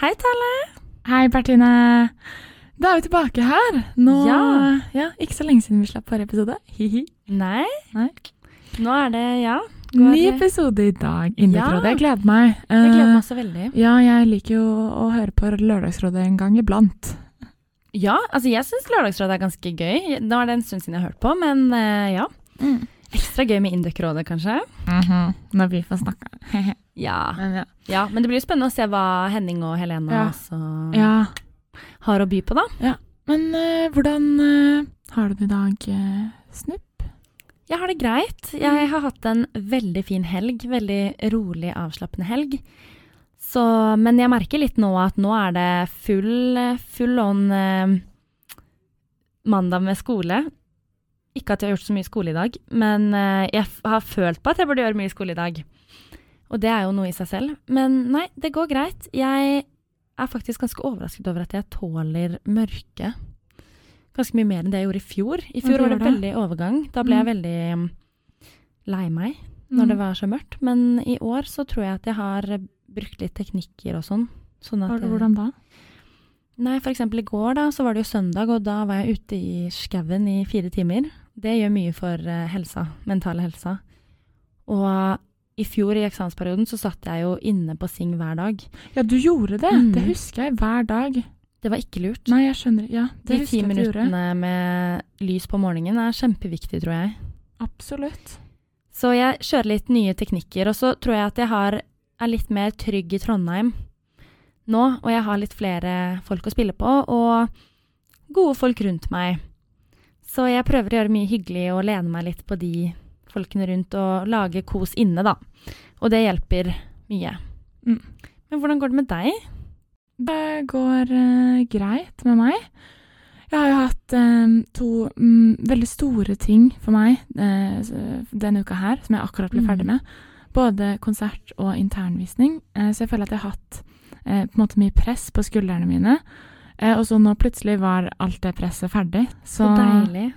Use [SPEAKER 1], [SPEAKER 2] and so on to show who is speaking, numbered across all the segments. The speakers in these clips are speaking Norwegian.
[SPEAKER 1] Hei, Telle.
[SPEAKER 2] Hei, Bertine. Da er vi tilbake her. Nå, ja.
[SPEAKER 1] Ja.
[SPEAKER 2] Ikke så lenge siden vi slapp forrige episode. Hihi.
[SPEAKER 1] Nei.
[SPEAKER 2] Nei.
[SPEAKER 1] Nå er det ja. Går-
[SPEAKER 2] Ny episode i dag. Indierådet.
[SPEAKER 1] Ja.
[SPEAKER 2] Jeg gleder meg.
[SPEAKER 1] Jeg gleder
[SPEAKER 2] Eh,
[SPEAKER 1] meg også veldig.
[SPEAKER 2] Ja, jeg liker jo å høre på Lørdagsrådet en gang iblant.
[SPEAKER 1] Ja, altså jeg syns Lørdagsrådet er ganske gøy. Nå er det en stund siden jeg har hørt på, men eh, ja. Ekstra gøy med Indøkrådet, kanskje.
[SPEAKER 2] Mhm. Når vi får snakka.
[SPEAKER 1] Ja.
[SPEAKER 2] Men ja.
[SPEAKER 1] ja. Men det blir jo spennende å se hva Henning og Helene
[SPEAKER 2] Ja.
[SPEAKER 1] også
[SPEAKER 2] ja.
[SPEAKER 1] har å by på, da.
[SPEAKER 2] Men eh, hvordan eh, har du det i dag, eh, Snupp?
[SPEAKER 1] Jeg har det greit. Jeg har hatt en veldig fin helg. Veldig rolig, avslappende helg. Så, men jeg merker litt nå at nå er det full, full on eh, mandag med skole. Ikke at jeg har gjort så mye skole i dag, men eh, jeg f- har følt på at jeg burde gjøre mye skole i dag. Og det er jo noe i seg selv. Men nei, det går greit. Jeg er faktisk ganske overrasket over at jeg tåler mørke. Ganske mye mer enn det jeg gjorde i fjor. I
[SPEAKER 2] Ja, du
[SPEAKER 1] fjor var
[SPEAKER 2] gjør
[SPEAKER 1] det
[SPEAKER 2] det.
[SPEAKER 1] veldig overgang. Da ble jeg veldig mm, lei meg
[SPEAKER 2] Mm.
[SPEAKER 1] når det var så mørkt. Men i år så tror jeg at jeg har brukt litt teknikker og sånn. sånn at
[SPEAKER 2] Har du-
[SPEAKER 1] jeg-
[SPEAKER 2] Hvordan da?
[SPEAKER 1] Nei, for eksempel i går da, så var det jo søndag, og da var jeg ute i skauen i fire timer. Det gjør mye for eh, helsa, mentale helsa. Og i fjor i eksamensperioden så satt jeg jo inne på Sing hver dag.
[SPEAKER 2] Ja, du gjorde det.
[SPEAKER 1] Mm.
[SPEAKER 2] Det husker jeg hver dag.
[SPEAKER 1] Det var ikke lurt.
[SPEAKER 2] Nei, jeg skjønner. Ja, det
[SPEAKER 1] De
[SPEAKER 2] husker
[SPEAKER 1] ti
[SPEAKER 2] jeg at du gjorde.
[SPEAKER 1] minuttene med lys på morgenen er kjempeviktig, tror jeg.
[SPEAKER 2] Absolutt.
[SPEAKER 1] Så jeg kjører litt nye teknikker, og så tror jeg at jeg har, er litt mer trygg i Trondheim nå, og jeg har litt flere folk å spille på, og gode folk rundt meg. Så jeg prøver å gjøre mye hyggelig og lene meg litt på de folkene rundt, og lage kos inne, da. Og det hjelper mye.
[SPEAKER 2] Mm.
[SPEAKER 1] Men hvordan går det med deg?
[SPEAKER 2] Det går eh, greit med meg. Jeg har jo hatt eh, to mm, veldig store ting for meg eh, s- denne uka her, som jeg akkurat ble
[SPEAKER 1] Mm.
[SPEAKER 2] ferdig med. Både konsert og internvisning. Eh, så jeg føler at jeg har hatt eh, på en måte mye press på skuldrene mine. Eh, og så nå plutselig var alt det presset ferdig. Så,
[SPEAKER 1] Så deilig.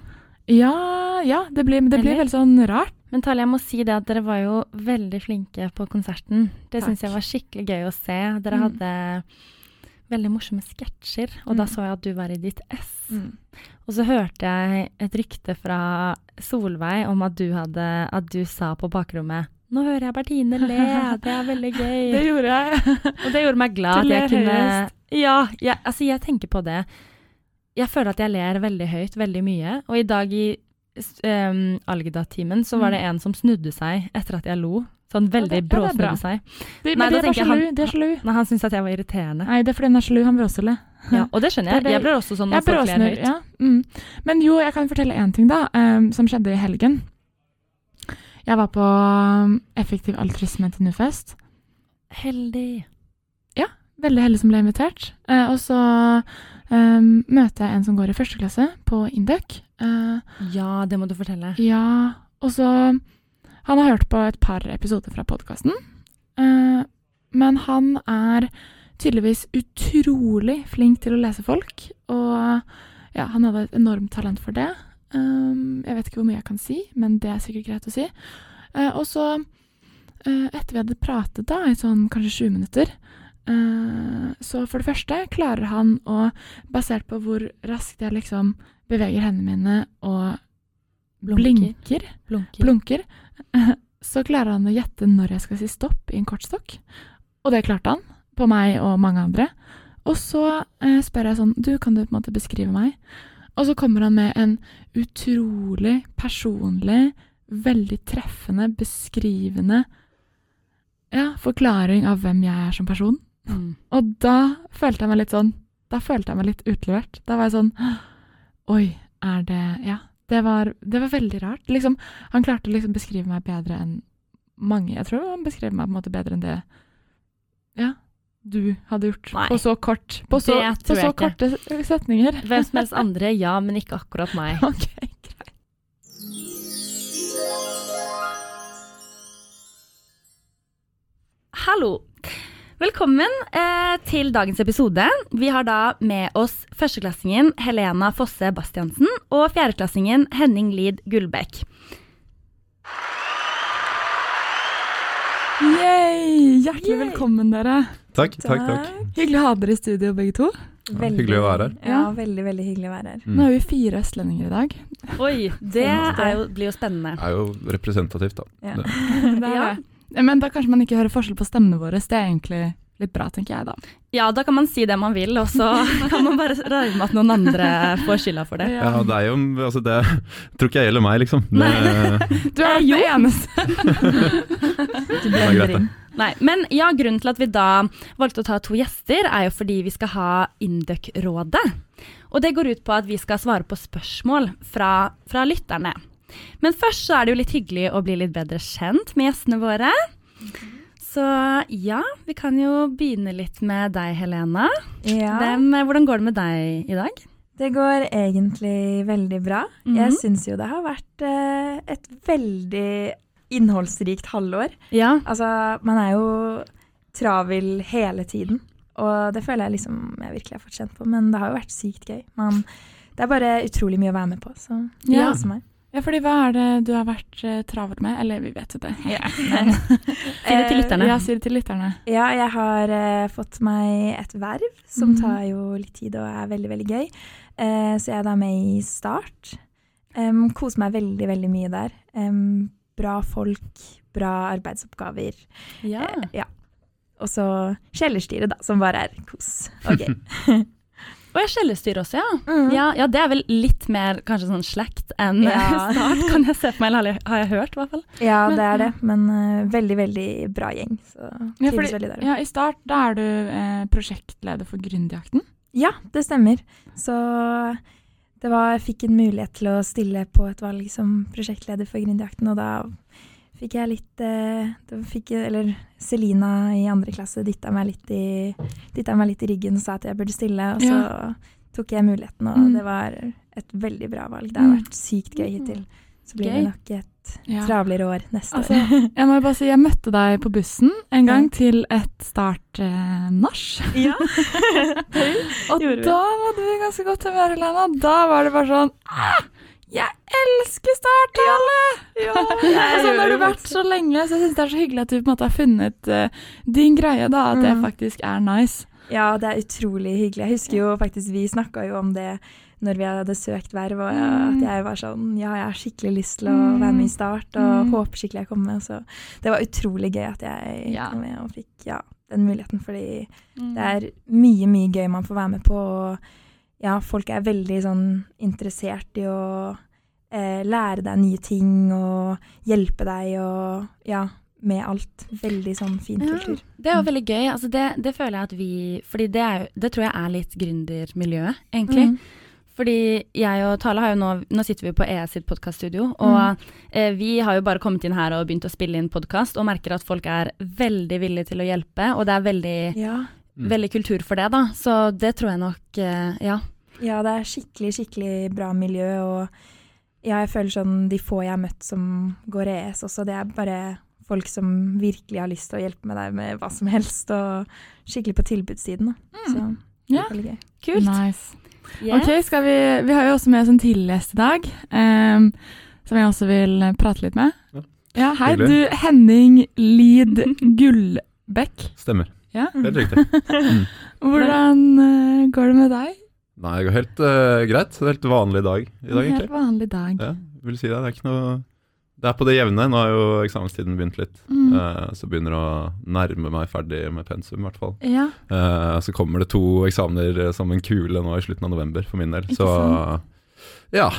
[SPEAKER 2] Ja, ja. Det blir, det blir
[SPEAKER 1] Eller?
[SPEAKER 2] veldig sånn rart.
[SPEAKER 1] Men Talia, jeg må si det at dere var jo veldig flinke på konserten. Det
[SPEAKER 2] Takk.
[SPEAKER 1] syns jeg var skikkelig gøy å se. Dere
[SPEAKER 2] Mm.
[SPEAKER 1] hadde veldig morsomme sketsjer, og da
[SPEAKER 2] Mm.
[SPEAKER 1] så jeg at du var i ditt ess. Og så hørte jeg et rykte fra Solveig om at du, hadde, at du sa på bakrommet nå hører jeg Bertine le, det er veldig
[SPEAKER 2] Det
[SPEAKER 1] gøy.
[SPEAKER 2] gjorde jeg.
[SPEAKER 1] Og det gjorde meg glad
[SPEAKER 2] Du
[SPEAKER 1] at jeg
[SPEAKER 2] ler
[SPEAKER 1] kunne
[SPEAKER 2] høyest.
[SPEAKER 1] Ja, jeg, altså jeg tenker på det. Jeg føler at jeg ler veldig høyt, veldig mye. Og i dag i s- em, Algeda-timen så var det en som snudde seg etter at jeg lo. Sånn veldig
[SPEAKER 2] det- Mm. ja, det er bra.
[SPEAKER 1] bråsnudde seg.
[SPEAKER 2] De,
[SPEAKER 1] Nei,
[SPEAKER 2] men de
[SPEAKER 1] da
[SPEAKER 2] er bare
[SPEAKER 1] tenker jeg
[SPEAKER 2] sjalu.
[SPEAKER 1] han-
[SPEAKER 2] De er sjalu.
[SPEAKER 1] Nei, han syntes at jeg var irriterende.
[SPEAKER 2] Nei, det er fordi hun er sjalu. Han bør også le.
[SPEAKER 1] Ja, og det skjønner
[SPEAKER 2] Det er
[SPEAKER 1] jeg.
[SPEAKER 2] det-
[SPEAKER 1] Jeg blir også sånn når
[SPEAKER 2] Jeg
[SPEAKER 1] folk ler
[SPEAKER 2] bråsnur,
[SPEAKER 1] høyt.
[SPEAKER 2] ja. Mm. Men jo, jeg kan fortelle én ting, da, em, som skjedde i helgen. Jeg var på em, Effektiv altruisme til Nufest.
[SPEAKER 1] Heldig.
[SPEAKER 2] Veldig heldig som ble invitert. Eh, og så em, møter jeg en som går i første klasse på Induc. Eh,
[SPEAKER 1] Ja, det må du fortelle.
[SPEAKER 2] ja, og så Han har hørt på et par episoder fra podkasten. Eh, men han er tydeligvis utrolig flink til å lese folk, og ja, han hadde et enormt talent for det. Um, jeg vet ikke hvor mye jeg kan si, men det er sikkert greit å si. Eh, og så, eh, etter vi hadde pratet da, i sånn kanskje 20 minutter, eh, så for det første klarer han å, basert på hvor raskt jeg liksom beveger hendene mine og
[SPEAKER 1] Blunker.
[SPEAKER 2] blinker,
[SPEAKER 1] Blunker.
[SPEAKER 2] blunker, så klarer han å gjette når jeg skal si stopp i en kortstokk. Og det klarte han, på meg og mange andre. Og så eh, spør jeg sånn, du kan du på en måte beskrive meg? Og så kommer han med en utrolig personlig, veldig treffende, beskrivende ja, forklaring av hvem jeg er som person.
[SPEAKER 1] Mm.
[SPEAKER 2] Og da følte jeg meg litt sånn Da følte jeg meg litt utlevert. Da var jeg sånn Oi, er det Ja. Det var, det var veldig rart. Liksom, han klarte å liksom beskrive meg bedre enn mange. Jeg tror han beskrev meg på en måte bedre enn det Ja, du hadde gjort.
[SPEAKER 1] Nei.
[SPEAKER 2] På så kort På så,
[SPEAKER 1] Det
[SPEAKER 2] på
[SPEAKER 1] tror
[SPEAKER 2] så
[SPEAKER 1] jeg ikke.
[SPEAKER 2] korte setninger.
[SPEAKER 1] Hvem som helst andre, ja, men ikke akkurat meg.
[SPEAKER 2] Ok, greit.
[SPEAKER 1] Hallo! Velkommen eh, til dagens episode. Vi har da med oss førsteklassingen Helena Fosse Bastiansen og fjerdeklassingen Henning Lid Gullbekk.
[SPEAKER 2] Yay! Hjertelig
[SPEAKER 3] Yay!
[SPEAKER 2] velkommen, dere.
[SPEAKER 4] Takk, takk, takk.
[SPEAKER 2] Hyggelig å ha dere i studio, begge to.
[SPEAKER 4] Ja, hyggelig å være her.
[SPEAKER 3] Ja, veldig, veldig hyggelig å være her.
[SPEAKER 2] Nå
[SPEAKER 4] Mm.
[SPEAKER 2] er vi fire østlendinger i dag.
[SPEAKER 1] Oi, det er jo, blir jo
[SPEAKER 4] Det
[SPEAKER 1] spennende.
[SPEAKER 4] er jo representativt, da.
[SPEAKER 3] Ja.
[SPEAKER 4] Det-
[SPEAKER 2] Det er
[SPEAKER 1] Ja.
[SPEAKER 2] det. Men da kanskje man ikke hører forskjell på stemmene våre. så Det er egentlig litt bra, tenker jeg, da.
[SPEAKER 1] Ja, da kan man si det man vil, og så kan man bare regne med at noen andre får skylda for det.
[SPEAKER 4] Ja, det er jo altså det, tror ikke jeg gjelder meg, liksom. Det,
[SPEAKER 2] Du er den eneste.
[SPEAKER 3] Du
[SPEAKER 4] det er greit, det.
[SPEAKER 1] Nei, men ja, grunnen til at vi da valgte å ta to gjester, er jo fordi vi skal ha Indøk-rådet. Og det går ut på at vi skal svare på spørsmål fra, fra lytterne. Men først så er det jo litt hyggelig å bli litt bedre kjent med gjestene våre. Så ja, vi kan jo begynne litt med deg, Helena.
[SPEAKER 3] Ja,
[SPEAKER 1] Hvem, hvordan går det med deg i dag?
[SPEAKER 3] det går egentlig veldig bra. Jeg
[SPEAKER 1] Mhm.
[SPEAKER 3] syns jo det har vært eh, et veldig innholdsrikt halvår.
[SPEAKER 1] Ja,
[SPEAKER 3] Altså, man er jo travel hele tiden. Og det føler jeg liksom jeg virkelig har fått kjent på, men det har jo vært sykt gøy. Man, det er bare utrolig mye å være med på, så det
[SPEAKER 2] Ja.
[SPEAKER 3] koser meg.
[SPEAKER 2] Ja, fordi hva er det du har vært eh, travel med? Eller vi vet jo det.
[SPEAKER 1] si det til
[SPEAKER 3] Eh,
[SPEAKER 1] lytterne.
[SPEAKER 2] Ja, si det til lytterne.
[SPEAKER 3] Ja, jeg har eh, fått meg et verv som
[SPEAKER 2] Mhm.
[SPEAKER 3] tar jo litt tid og er veldig, veldig gøy. Eh, så jeg er da med i Start. Em, koser meg veldig, veldig mye der. Em, bra folk, bra arbeidsoppgaver.
[SPEAKER 1] Ja.
[SPEAKER 3] Eh, ja. Og så kjellerstyret, da, som bare er kos og gøy.
[SPEAKER 1] Og jeg skjellestyr også, ja.
[SPEAKER 3] Mm.
[SPEAKER 1] ja. Ja, det er vel litt mer kanskje sånn slekt enn
[SPEAKER 3] Ja.
[SPEAKER 1] start, kan jeg se for meg, eller har jeg- har jeg hørt i hvert fall.
[SPEAKER 3] Ja,
[SPEAKER 2] Men- mm.
[SPEAKER 3] det er det. Men eh, veldig, veldig bra gjeng. Så
[SPEAKER 2] Ja,
[SPEAKER 3] trives
[SPEAKER 2] fordi-
[SPEAKER 3] veldig der.
[SPEAKER 2] Ja, I start da er du eh, prosjektleder for Gründerjakten.
[SPEAKER 3] Ja, det stemmer. Så det var, jeg fikk en mulighet til å stille på et valg som prosjektleder for Gründerjakten, og da fikk jeg litt eh, da fikk, jeg- Eller Selina i andre klasse dytta meg, litt i- dytta meg litt i ryggen og sa at jeg burde stille, og så tok jeg muligheten, og
[SPEAKER 2] Mm.
[SPEAKER 3] det var et veldig bra valg. Det har
[SPEAKER 2] Mm.
[SPEAKER 3] vært sykt gøy hittil. Så blir
[SPEAKER 1] Gøy.
[SPEAKER 3] det nok et
[SPEAKER 2] Ja.
[SPEAKER 3] travlere år neste
[SPEAKER 2] Altså,
[SPEAKER 3] år.
[SPEAKER 2] jeg må jo bare si, jeg møtte deg på bussen en gang til et start-nach.
[SPEAKER 3] Ja.
[SPEAKER 2] og
[SPEAKER 3] gjorde vi.
[SPEAKER 2] da var du i ganske godt humør, Helena. Da var det bare sånn ah, Jeg elsker start, alle! og sånn har
[SPEAKER 3] gjorde
[SPEAKER 2] du
[SPEAKER 3] det
[SPEAKER 2] vært så lenge, så jeg syns det er så hyggelig at du på en måte har funnet eh, din greie, da. At det
[SPEAKER 3] Mm.
[SPEAKER 2] faktisk er nice.
[SPEAKER 3] Ja, det er utrolig hyggelig. Jeg husker jo faktisk, vi snakka jo om det når vi hadde søkt verv, og jeg,
[SPEAKER 2] Mm.
[SPEAKER 3] at jeg var sånn Ja, jeg har skikkelig lyst til å
[SPEAKER 2] Mm.
[SPEAKER 3] være med i Start, og
[SPEAKER 2] Mm.
[SPEAKER 3] håper skikkelig jeg kommer med. Så det var utrolig gøy at jeg
[SPEAKER 2] Ja. Mm.
[SPEAKER 3] kom med og fikk ja, den muligheten, fordi det er mye, mye gøy man får være med på. Og ja, folk er veldig sånn interessert i å eh, lære deg nye ting og hjelpe deg og ja, med alt. Veldig sånn fin
[SPEAKER 1] Ja.
[SPEAKER 3] kultur.
[SPEAKER 1] Det er jo veldig gøy. Altså det, det føler jeg at vi Fordi det, er, jo- det tror jeg er litt gründermiljøet, egentlig.
[SPEAKER 3] Mm.
[SPEAKER 1] Fordi jeg og Tale har jo nå Nå sitter vi på ES sitt podkaststudio, og eh, vi har jo bare kommet inn her og begynt å spille inn podkast, og merker at folk er veldig villige til å hjelpe, og det er veldig,
[SPEAKER 3] Ja.
[SPEAKER 4] Mm.
[SPEAKER 1] veldig kultur for det, da. Så det tror jeg nok eh, Ja.
[SPEAKER 3] Ja, det er skikkelig, skikkelig bra miljø, og ja, jeg føler sånn de få jeg har møtt som går ES også, det er bare folk som virkelig har lyst til å hjelpe med deg med hva som helst, og skikkelig på tilbudssiden. Da.
[SPEAKER 1] Mm.
[SPEAKER 3] Så det
[SPEAKER 2] Ja.
[SPEAKER 3] er veldig gøy.
[SPEAKER 1] Kult.
[SPEAKER 2] Nice.
[SPEAKER 1] Yes.
[SPEAKER 2] Ok, skal vi, vi har jo også med oss en tidligere gjest i dag, eh, som jeg også vil prate litt med.
[SPEAKER 4] Ja.
[SPEAKER 2] Ja, hei du,
[SPEAKER 4] Hyggelig.
[SPEAKER 2] Henning Lid Gullbekk.
[SPEAKER 4] Stemmer.
[SPEAKER 2] Ja.
[SPEAKER 4] Helt riktig.
[SPEAKER 2] Hvordan eh, går det med deg?
[SPEAKER 4] Nei, det går helt eh, greit. Det er Helt vanlig dag i dag,
[SPEAKER 2] En
[SPEAKER 4] egentlig.
[SPEAKER 2] helt vanlig dag.
[SPEAKER 4] Ja, vil si det. Det er ikke noe Det er på det jevne. Nå har jo eksamenstiden begynt litt.
[SPEAKER 2] Mm.
[SPEAKER 4] eh, Så begynner å nærme meg ferdig med pensum, i hvert fall.
[SPEAKER 2] Ja.
[SPEAKER 4] Eh, Så kommer det to eksamener eh, som en kule nå i slutten av november, for min del.
[SPEAKER 2] Ikke
[SPEAKER 4] Så
[SPEAKER 2] sant?
[SPEAKER 4] ja.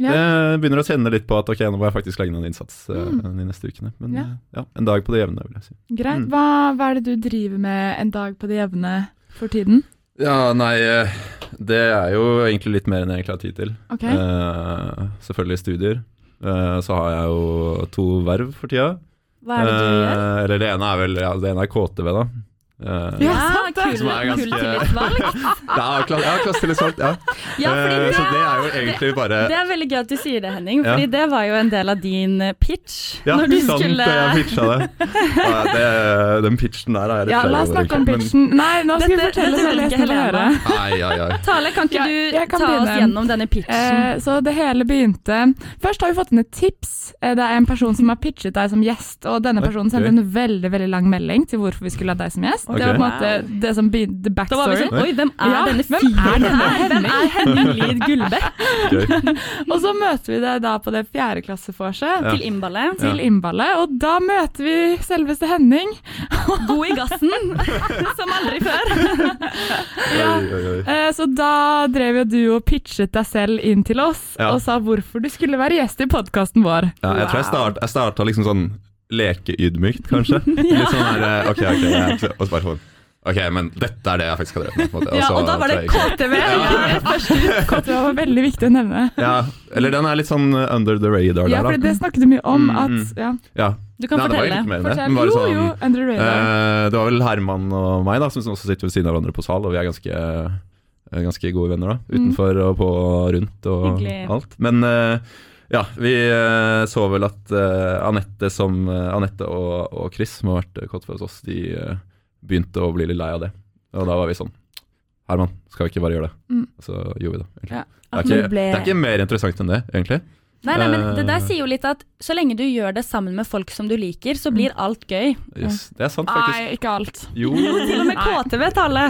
[SPEAKER 2] Ja.
[SPEAKER 4] Jeg begynner å kjenne litt på at ok, nå må jeg faktisk legge ned en innsats eh,
[SPEAKER 2] Mm.
[SPEAKER 4] de neste ukene. Men
[SPEAKER 2] Ja.
[SPEAKER 4] eh, ja, en dag på det jevne, vil jeg si.
[SPEAKER 2] Greit.
[SPEAKER 4] Mm.
[SPEAKER 2] Hva, hva er det du driver med en dag på det jevne for tiden?
[SPEAKER 4] Ja, nei, eh, det er jo egentlig litt mer enn jeg egentlig har tid til.
[SPEAKER 2] Ok.
[SPEAKER 4] Eh, selvfølgelig studier. Eh, så har jeg jo to verv for tida.
[SPEAKER 1] Hva er det du gjør?
[SPEAKER 4] Eh, eller det ene er vel ja, det ene er KTV, da. Eh,
[SPEAKER 2] Ja, sant det.
[SPEAKER 1] kul,
[SPEAKER 4] Som er ganske-
[SPEAKER 1] kul tillitsvalg.
[SPEAKER 4] det er klass, ja, klassetillitsvalgt, ja.
[SPEAKER 1] Ja, fordi
[SPEAKER 4] Eh,
[SPEAKER 1] det,
[SPEAKER 4] så det er jo egentlig bare
[SPEAKER 1] det er veldig gøy at du sier det, Henning,
[SPEAKER 4] Ja.
[SPEAKER 1] fordi det var jo en del av din eh, pitch.
[SPEAKER 4] Ja,
[SPEAKER 1] når du
[SPEAKER 4] sant,
[SPEAKER 1] skulle
[SPEAKER 4] jeg pitcha det. Ja, det. Den pitchen der er jeg litt
[SPEAKER 2] Ja,
[SPEAKER 4] flau
[SPEAKER 2] la oss
[SPEAKER 4] over,
[SPEAKER 2] snakke om
[SPEAKER 4] egentlig, men-
[SPEAKER 2] pitchen. Nei, nå skal vi
[SPEAKER 1] Dette-
[SPEAKER 2] fortelle
[SPEAKER 1] dette
[SPEAKER 2] så
[SPEAKER 1] vil
[SPEAKER 2] lest
[SPEAKER 1] ikke
[SPEAKER 2] vil høre.
[SPEAKER 1] Helene.
[SPEAKER 4] Ai, ai, ai.
[SPEAKER 1] Tale, kan ikke
[SPEAKER 2] Ja,
[SPEAKER 1] du
[SPEAKER 2] jeg kan
[SPEAKER 1] ta oss
[SPEAKER 2] begynne.
[SPEAKER 1] gjennom denne pitchen?
[SPEAKER 4] Sånn.
[SPEAKER 2] Eh, så det hele begynte Først har vi fått inn et tips. Eh, det er en person som har pitchet deg som gjest, og denne
[SPEAKER 4] Ok.
[SPEAKER 2] personen sendte en veldig veldig lang melding til hvorfor vi skulle ha deg som gjest. Det var på en måte det som begynte the
[SPEAKER 1] da var vi
[SPEAKER 2] backstory.
[SPEAKER 1] sånn Oi, hvem er
[SPEAKER 2] Ja,
[SPEAKER 1] denne
[SPEAKER 2] hvem
[SPEAKER 1] fyren
[SPEAKER 2] er denne
[SPEAKER 1] her? Hvem
[SPEAKER 2] Henning?
[SPEAKER 1] er Henning Lid Gullbekk?
[SPEAKER 4] Gøy.
[SPEAKER 2] Og så møter vi deg da på det fjerdeklasseforset.
[SPEAKER 4] Ja.
[SPEAKER 1] Til innballet.
[SPEAKER 2] Til innballet, og da møter vi selveste Henning.
[SPEAKER 1] God i gassen, som aldri før.
[SPEAKER 4] Oi, oi, oi.
[SPEAKER 2] Eh, Så da drev jo du og pitchet deg selv inn til oss
[SPEAKER 4] Ja.
[SPEAKER 2] og sa hvorfor du skulle være gjest i podkasten vår.
[SPEAKER 4] Ja, jeg tror jeg, start, jeg starta liksom sånn lekeydmykt, kanskje. Litt sånn der eh, Ok, ok. jeg er ikke så- Og så bare sånn Ok, men dette er det jeg faktisk skal drømme om.
[SPEAKER 1] Ja, og da var det KTV.
[SPEAKER 2] Det var veldig viktig å nevne.
[SPEAKER 4] Ja, eller den er litt sånn eh, under the radar
[SPEAKER 2] Ja,
[SPEAKER 4] der,
[SPEAKER 2] for
[SPEAKER 4] da.
[SPEAKER 2] det snakket du mye om.
[SPEAKER 4] Mm,
[SPEAKER 2] At, ja,
[SPEAKER 4] Ja.
[SPEAKER 1] Du kan
[SPEAKER 4] Nei, det var egentlig
[SPEAKER 1] fortelle.
[SPEAKER 4] ikke mer enn det.
[SPEAKER 2] fortell.
[SPEAKER 4] Men bare
[SPEAKER 2] Jo,
[SPEAKER 4] sånn
[SPEAKER 2] jo, under radar.
[SPEAKER 4] Eh, det var vel Herman og meg da som også sitter ved siden av hverandre på sal, og vi er ganske, eh, ganske gode venner da, utenfor og på og rundt og
[SPEAKER 1] Hyggelig.
[SPEAKER 4] alt. Men eh, ja, vi eh, så vel at eh, Anette, som, eh, Anette og, og Chris, som har vært eh, kåte hos oss, de eh, begynte å bli litt lei av det. Og da var vi sånn Herman, skal vi ikke bare gjøre det?
[SPEAKER 2] Mm.
[SPEAKER 4] Så gjorde vi det. egentlig.
[SPEAKER 2] Ja.
[SPEAKER 4] Det,
[SPEAKER 3] At
[SPEAKER 4] er
[SPEAKER 3] vi
[SPEAKER 4] ikke,
[SPEAKER 3] ble-
[SPEAKER 4] det er ikke mer interessant enn det, egentlig.
[SPEAKER 1] Nei, nei, men det der
[SPEAKER 4] Eh.
[SPEAKER 1] sier jo litt at så lenge du gjør det sammen med folk som du liker, så blir alt gøy.
[SPEAKER 4] Yes, det er sant,
[SPEAKER 2] Nei,
[SPEAKER 4] faktisk.
[SPEAKER 2] ikke alt.
[SPEAKER 4] Jo,
[SPEAKER 1] Til og med KTV, Tale.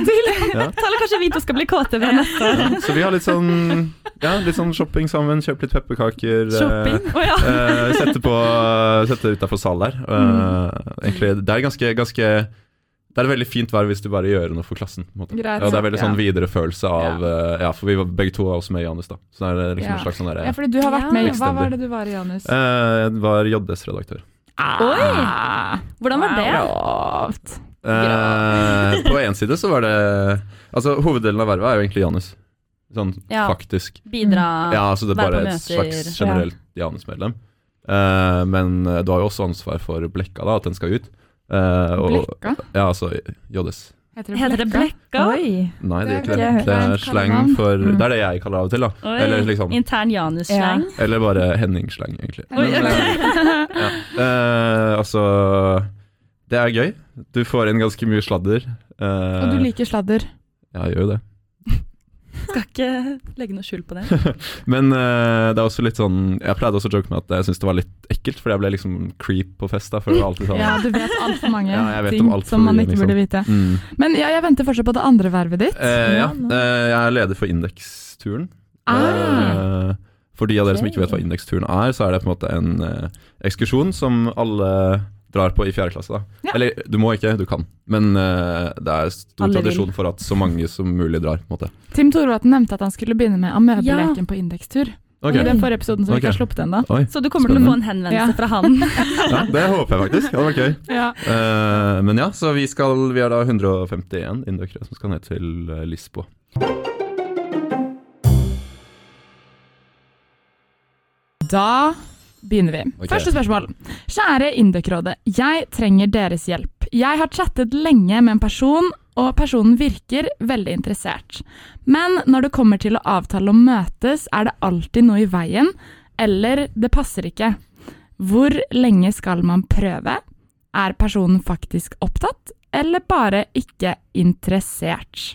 [SPEAKER 4] Ja.
[SPEAKER 1] Tale, kanskje vi to skal bli KTV neste år.
[SPEAKER 4] Ja, så vi har litt sånn, ja, litt sånn shopping sammen, kjøpt litt pepperkaker. eh,
[SPEAKER 1] Shopping. Å ja.
[SPEAKER 4] eh, sette på eh, Sette utafor sal der. Eh, egentlig, det er ganske, ganske Det er veldig fint vær hvis du bare gjør noe for klassen. På en måte.
[SPEAKER 2] Greit,
[SPEAKER 4] ja, det er veldig
[SPEAKER 2] ja.
[SPEAKER 4] sånn viderefølelse av eh, Ja, for vi var begge to var også med i Janus, da. Så det er liksom
[SPEAKER 2] Ja.
[SPEAKER 4] en slags sånn derre
[SPEAKER 2] Ja, fordi du har vært med i- Hva
[SPEAKER 4] Extender.
[SPEAKER 2] var det du var i, Janus?
[SPEAKER 4] eh, Var JS-redaktør. ah.
[SPEAKER 2] Oi!
[SPEAKER 1] Hvordan var det?
[SPEAKER 2] Grovt.
[SPEAKER 4] Eh, på én side så var det Altså, hoveddelen av vervet er jo egentlig Janus. Sånn
[SPEAKER 1] Ja.
[SPEAKER 4] faktisk.
[SPEAKER 1] Bidra
[SPEAKER 4] Ja, så det er
[SPEAKER 1] Være
[SPEAKER 4] bare
[SPEAKER 1] på
[SPEAKER 4] et
[SPEAKER 1] møter.
[SPEAKER 4] slags generelt Janus-medlem. Eh, men eh, du har jo også ansvar for blekka, da, at den skal ut. Eh, og,
[SPEAKER 2] Blekka?
[SPEAKER 4] ja, altså JS.
[SPEAKER 1] Heter det blekka?
[SPEAKER 3] Oi!
[SPEAKER 4] Nei, det er ikke
[SPEAKER 2] Det
[SPEAKER 4] det.
[SPEAKER 3] er
[SPEAKER 4] Det er
[SPEAKER 2] kleint
[SPEAKER 4] slang
[SPEAKER 2] kallenavn.
[SPEAKER 4] for
[SPEAKER 3] Mm.
[SPEAKER 4] Det er det jeg kaller det av og til, da.
[SPEAKER 1] Oi.
[SPEAKER 4] Eller liksom
[SPEAKER 1] Intern Janus-slang.
[SPEAKER 4] Eller bare Henning-slang, egentlig.
[SPEAKER 2] Oi,
[SPEAKER 4] Men, eh, ja. Eh, altså Det er gøy. Du får inn ganske mye sladder. Eh,
[SPEAKER 2] Og du liker sladder.
[SPEAKER 4] Ja, jeg gjør jo det.
[SPEAKER 1] Skal ikke legge noe skjul på det.
[SPEAKER 4] Men eh, det er også litt sånn Jeg pleide også å joke med at jeg syntes det var litt ekkelt, fordi jeg ble liksom creep på fest, da, for det var alltid sånn
[SPEAKER 2] Ja, du vet altfor mange
[SPEAKER 4] Ja, jeg vet
[SPEAKER 2] ting
[SPEAKER 4] om alt for
[SPEAKER 2] som man
[SPEAKER 4] mye,
[SPEAKER 2] ikke
[SPEAKER 4] liksom.
[SPEAKER 2] burde vite.
[SPEAKER 4] Mm.
[SPEAKER 2] Men ja, jeg venter fortsatt på det andre vervet ditt.
[SPEAKER 4] Eh, ja,
[SPEAKER 3] Ja, nå.
[SPEAKER 4] eh, jeg er leder for Indeksturen.
[SPEAKER 2] Ah.
[SPEAKER 4] Eh, for de av dere som
[SPEAKER 3] Ok.
[SPEAKER 4] ikke vet hva Indeksturen er, så er det på en måte en eh, ekskursjon som alle drar på i fjerde klasse. Da.
[SPEAKER 2] Ja.
[SPEAKER 4] Eller du må ikke, du kan. Men eh, det er stor
[SPEAKER 1] Alle vil.
[SPEAKER 4] tradisjon for at så mange som mulig drar. På en måte.
[SPEAKER 2] Tim Thorvatn nevnte at han skulle begynne med amøbeleken på indekstur.
[SPEAKER 4] Ok.
[SPEAKER 2] I den forrige episoden som vi ikke har
[SPEAKER 4] Ok.
[SPEAKER 2] sluppet ennå.
[SPEAKER 4] Oi,
[SPEAKER 1] Så du kommer til å få en henvendelse
[SPEAKER 2] Ja.
[SPEAKER 1] fra han.
[SPEAKER 4] ja, det håper jeg faktisk. Det hadde vært gøy.
[SPEAKER 2] Ja.
[SPEAKER 4] Eh, men ja, så vi, skal, vi er da 151 indøkere som skal ned til eh, Lisboa.
[SPEAKER 2] Da begynner vi.
[SPEAKER 4] Ok.
[SPEAKER 2] Første spørsmål. Kjære Indøkrådet. Jeg trenger deres hjelp. Jeg har chattet lenge med en person, og personen virker veldig interessert. Men når det kommer til å avtale å møtes, er det alltid noe i veien, eller det passer ikke. Hvor lenge skal man prøve? Er personen faktisk opptatt, eller bare ikke interessert?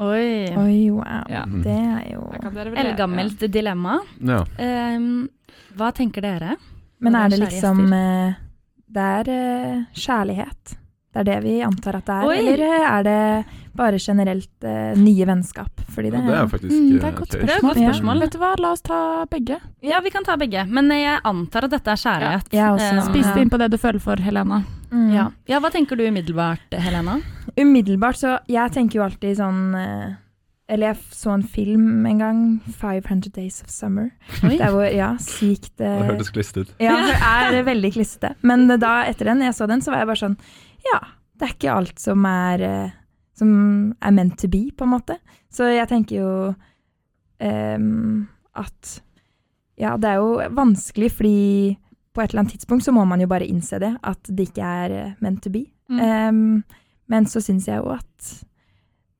[SPEAKER 1] Oi.
[SPEAKER 3] Oi, wow.
[SPEAKER 2] Ja.
[SPEAKER 4] Mm.
[SPEAKER 3] Det er jo
[SPEAKER 1] Eldgammelt dilemma.
[SPEAKER 4] Ja.
[SPEAKER 1] Ehm, hva tenker dere?
[SPEAKER 3] Men er det
[SPEAKER 1] Kjære
[SPEAKER 3] liksom eh, Det er eh, kjærlighet. Det er det vi antar at det er.
[SPEAKER 1] Oi.
[SPEAKER 3] Eller eh, er det bare generelt eh, nye vennskap? Fordi det,
[SPEAKER 4] Det er faktisk
[SPEAKER 2] Mm, det
[SPEAKER 4] eh,
[SPEAKER 2] er et godt
[SPEAKER 4] gøy.
[SPEAKER 1] Det er et godt
[SPEAKER 3] Ja.
[SPEAKER 1] spørsmål.
[SPEAKER 2] Vet du hva, la oss ta begge.
[SPEAKER 1] Ja, vi kan ta begge, men jeg antar at dette er kjærlighet.
[SPEAKER 3] Ja, jeg også.
[SPEAKER 1] Ehm,
[SPEAKER 2] Spis
[SPEAKER 3] Ja.
[SPEAKER 2] det inn på det du føler for, Helena.
[SPEAKER 3] Mm.
[SPEAKER 1] ja. ja, hva tenker du umiddelbart, Helena?
[SPEAKER 3] Umiddelbart, så Jeg tenker jo alltid sånn eh, Eller jeg f- så en film en gang, 500 Days of Summer.
[SPEAKER 1] Oi.
[SPEAKER 3] Der hvor, ja, sykt eh,
[SPEAKER 4] Det hørtes klist ut.
[SPEAKER 3] Ja, det er veldig klissete. Men da, etter den, jeg så den, så var jeg bare sånn Ja, det er ikke alt som er eh, Som er meant to be, på en måte. Så jeg tenker jo ehm, at Ja, det er jo vanskelig, fordi på et eller annet tidspunkt så må man jo bare innse det, at det ikke er eh, meant to be.
[SPEAKER 2] Mm.
[SPEAKER 3] Ehm, Men så syns jeg jo at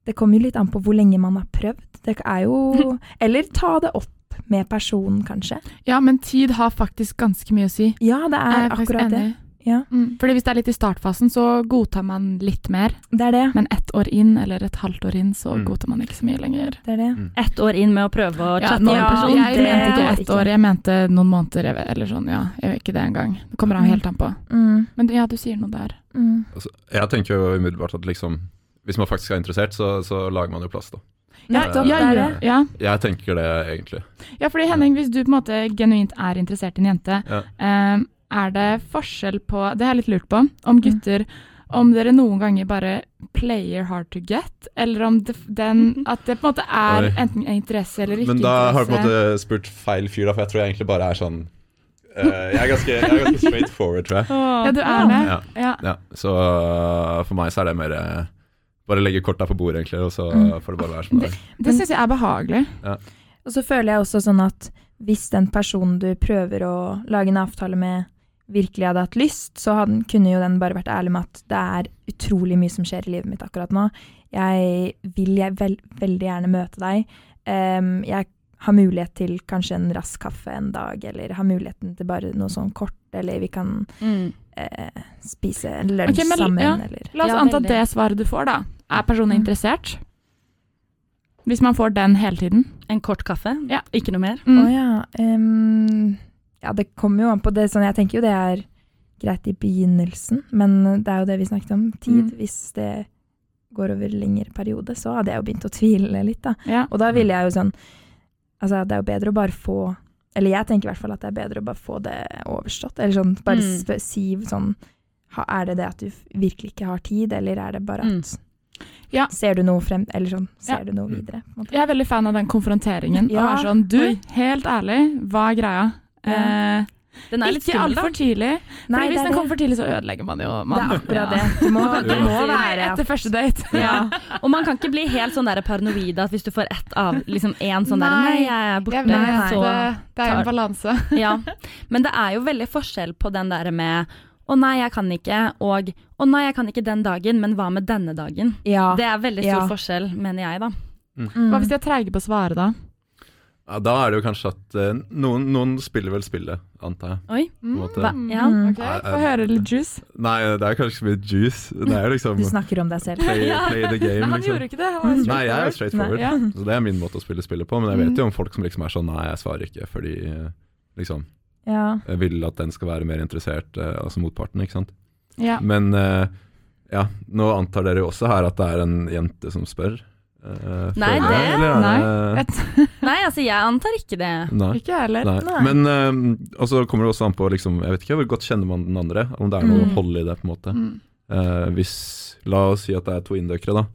[SPEAKER 3] det kommer jo litt an på hvor lenge man har prøvd. Det er jo Eller ta det opp med personen, kanskje.
[SPEAKER 2] Ja, men tid har faktisk ganske mye å si.
[SPEAKER 3] Ja, det er,
[SPEAKER 2] Jeg er faktisk
[SPEAKER 3] akkurat det.
[SPEAKER 2] enig.
[SPEAKER 3] Ja,
[SPEAKER 2] Mm. Fordi hvis det er litt i startfasen, så godtar man litt mer.
[SPEAKER 3] det er det.
[SPEAKER 2] Men ett år inn, eller et halvt år inn, så
[SPEAKER 4] Mm.
[SPEAKER 2] godtar man ikke så mye lenger.
[SPEAKER 3] Det er det.
[SPEAKER 1] Ett år inn med å prøve å
[SPEAKER 2] Ja,
[SPEAKER 1] chatte
[SPEAKER 2] nå,
[SPEAKER 1] med en person.
[SPEAKER 2] jeg
[SPEAKER 3] det
[SPEAKER 2] mente ikke
[SPEAKER 3] går
[SPEAKER 2] ett
[SPEAKER 3] ikke.
[SPEAKER 2] år, jeg mente noen måneder, jeg vet- eller sånn, ja. Jeg vet ikke det engang. Det kommer av
[SPEAKER 3] Mm.
[SPEAKER 2] helt an på.
[SPEAKER 3] Mm,
[SPEAKER 2] Men ja, du sier noe der.
[SPEAKER 3] mm.
[SPEAKER 4] Altså, jeg tenker jo umiddelbart at liksom, hvis man faktisk er interessert, så, så lager man jo plass, da.
[SPEAKER 3] Nettopp,
[SPEAKER 2] ja,
[SPEAKER 3] det er
[SPEAKER 2] ja,
[SPEAKER 3] det.
[SPEAKER 2] ja.
[SPEAKER 4] Jeg tenker det, egentlig.
[SPEAKER 2] Ja, fordi Henning, hvis du på en måte genuint er interessert i en jente,
[SPEAKER 4] Ja.
[SPEAKER 2] eh, er det forskjell på Det har jeg litt lurt på. Om gutter Om dere noen ganger bare player hard to get, eller om det, den, at det på en måte er
[SPEAKER 4] Oi.
[SPEAKER 2] enten en interesse eller ikke
[SPEAKER 4] Men da har du på en
[SPEAKER 2] interesse.
[SPEAKER 4] måte spurt feil fyr, da, for jeg tror jeg egentlig bare er sånn eh, jeg, er ganske, jeg er ganske straight forward, tror jeg.
[SPEAKER 2] Ja, du er det.
[SPEAKER 4] Ja.
[SPEAKER 2] Ja.
[SPEAKER 4] Ja, så øh, for meg så er det mer øh, bare legge korta på bordet, egentlig, og så øh, får det bare være som det er.
[SPEAKER 2] Det syns jeg er behagelig.
[SPEAKER 3] Og så føler jeg også sånn at hvis den personen du prøver å lage en avtale med, virkelig hadde hatt lyst, så hadde, kunne jo den bare vært ærlig med at det er utrolig mye som skjer i livet mitt akkurat nå. Jeg vil jeg vel, veldig gjerne møte deg. Em, jeg har mulighet til kanskje en rask kaffe en dag, eller har muligheten til bare noe sånn kort, eller vi kan
[SPEAKER 1] Mm.
[SPEAKER 3] eh, spise en lunsj
[SPEAKER 2] Ok, men-
[SPEAKER 3] sammen,
[SPEAKER 2] ja.
[SPEAKER 3] eller
[SPEAKER 2] La oss
[SPEAKER 1] Ja,
[SPEAKER 2] anta
[SPEAKER 1] veldig.
[SPEAKER 2] at det svaret du får, da, er personen
[SPEAKER 3] Mm.
[SPEAKER 2] interessert. Hvis man får den hele tiden.
[SPEAKER 1] En kort kaffe,
[SPEAKER 2] Ja.
[SPEAKER 1] ikke noe mer.
[SPEAKER 2] Mm.
[SPEAKER 3] Å ja. em, ja, det kommer jo an på det. Sånn, jeg tenker jo det er greit i begynnelsen, men det er jo det vi snakket om. Tid.
[SPEAKER 2] Mm.
[SPEAKER 3] Hvis det går over lengre periode, så hadde jeg jo begynt å tvile litt, da.
[SPEAKER 2] Ja.
[SPEAKER 3] Og da ville jeg jo sånn Altså, det er jo bedre å bare få Eller jeg tenker i hvert fall at det er bedre å bare få det overstått. Eller sånn, bare
[SPEAKER 1] Mm.
[SPEAKER 3] sp- si sånn ha, Er det det at du f- virkelig ikke har tid, eller er det bare at
[SPEAKER 2] Mm. Ja.
[SPEAKER 3] Ser du noe frem Eller sånn, ser
[SPEAKER 2] Ja.
[SPEAKER 3] du noe videre? På en måte.
[SPEAKER 2] Jeg er veldig fan av den konfronteringen. Og
[SPEAKER 3] Ja.
[SPEAKER 2] er sånn, du,
[SPEAKER 3] Oi.
[SPEAKER 2] helt ærlig, hva er greia?
[SPEAKER 3] Ja.
[SPEAKER 2] Eh,
[SPEAKER 1] Den er litt
[SPEAKER 2] ikke
[SPEAKER 1] skummel, da.
[SPEAKER 2] altfor tidlig.
[SPEAKER 3] Nei,
[SPEAKER 2] Fordi hvis
[SPEAKER 3] det er
[SPEAKER 2] den
[SPEAKER 3] det.
[SPEAKER 2] kommer for tidlig, så ødelegger man jo
[SPEAKER 3] Det
[SPEAKER 2] man-
[SPEAKER 3] er akkurat
[SPEAKER 2] Ja.
[SPEAKER 3] det. Du må, det må
[SPEAKER 2] Nei,
[SPEAKER 3] være
[SPEAKER 2] Etter første date.
[SPEAKER 1] Ja. Og man kan ikke bli helt sånn der paranoid at hvis du får ett av liksom én sånn der
[SPEAKER 2] Nei,
[SPEAKER 1] Nei, jeg er borte.
[SPEAKER 2] Jeg vet,
[SPEAKER 1] så,
[SPEAKER 2] det, det er jo en
[SPEAKER 1] tar-
[SPEAKER 2] balanse.
[SPEAKER 1] ja. Men det er jo veldig forskjell på den der med å nei, jeg kan ikke, og å nei, jeg kan ikke den dagen, men hva med denne dagen?
[SPEAKER 3] Ja.
[SPEAKER 1] Det er veldig stor
[SPEAKER 3] Ja.
[SPEAKER 1] forskjell, mener jeg, da.
[SPEAKER 3] mm.
[SPEAKER 2] Hva hvis de er treige på å svare, da?
[SPEAKER 4] Ja, da er det jo kanskje at øh, noen, noen spiller vel spillet, antar jeg.
[SPEAKER 1] Oi.
[SPEAKER 4] en måte.
[SPEAKER 1] Hva- ja.
[SPEAKER 3] Mm.
[SPEAKER 2] Ok, Få høre litt juice.
[SPEAKER 4] Nei, det er kanskje ikke så mye juice. Det er jo liksom
[SPEAKER 3] Du snakker om deg selv.
[SPEAKER 4] play, play the game,
[SPEAKER 2] Nei, han
[SPEAKER 4] liksom.
[SPEAKER 2] gjorde ikke det. Han var
[SPEAKER 4] Nei, jeg er jo
[SPEAKER 2] straightforward.
[SPEAKER 4] straight forward,
[SPEAKER 2] Nei, ja.
[SPEAKER 4] så det er min måte å spille spillet på. Men jeg vet jo om folk som liksom er sånn nei, jeg svarer ikke fordi øh, liksom
[SPEAKER 3] Ja.
[SPEAKER 4] jeg vil at den skal være mer interessert, øh, altså motparten, ikke sant.
[SPEAKER 2] Ja.
[SPEAKER 4] Men øh, ja, nå antar dere jo også her at det er en jente som spør. øh,
[SPEAKER 1] Nei,
[SPEAKER 4] føler jeg,
[SPEAKER 1] det-
[SPEAKER 4] eller er
[SPEAKER 2] Nei.
[SPEAKER 4] det-
[SPEAKER 2] Et,
[SPEAKER 1] Nei, altså, jeg antar ikke det.
[SPEAKER 4] Nei.
[SPEAKER 2] ikke jeg heller.
[SPEAKER 4] Nei.
[SPEAKER 3] Nei.
[SPEAKER 4] Men eh, og så kommer det også an på liksom, Jeg vet ikke hvor godt kjenner man den andre, om det er noe
[SPEAKER 2] Mm.
[SPEAKER 4] hold i det. på en måte
[SPEAKER 2] Mm.
[SPEAKER 4] Eh, Hvis, La oss si at det er to indøkere, da.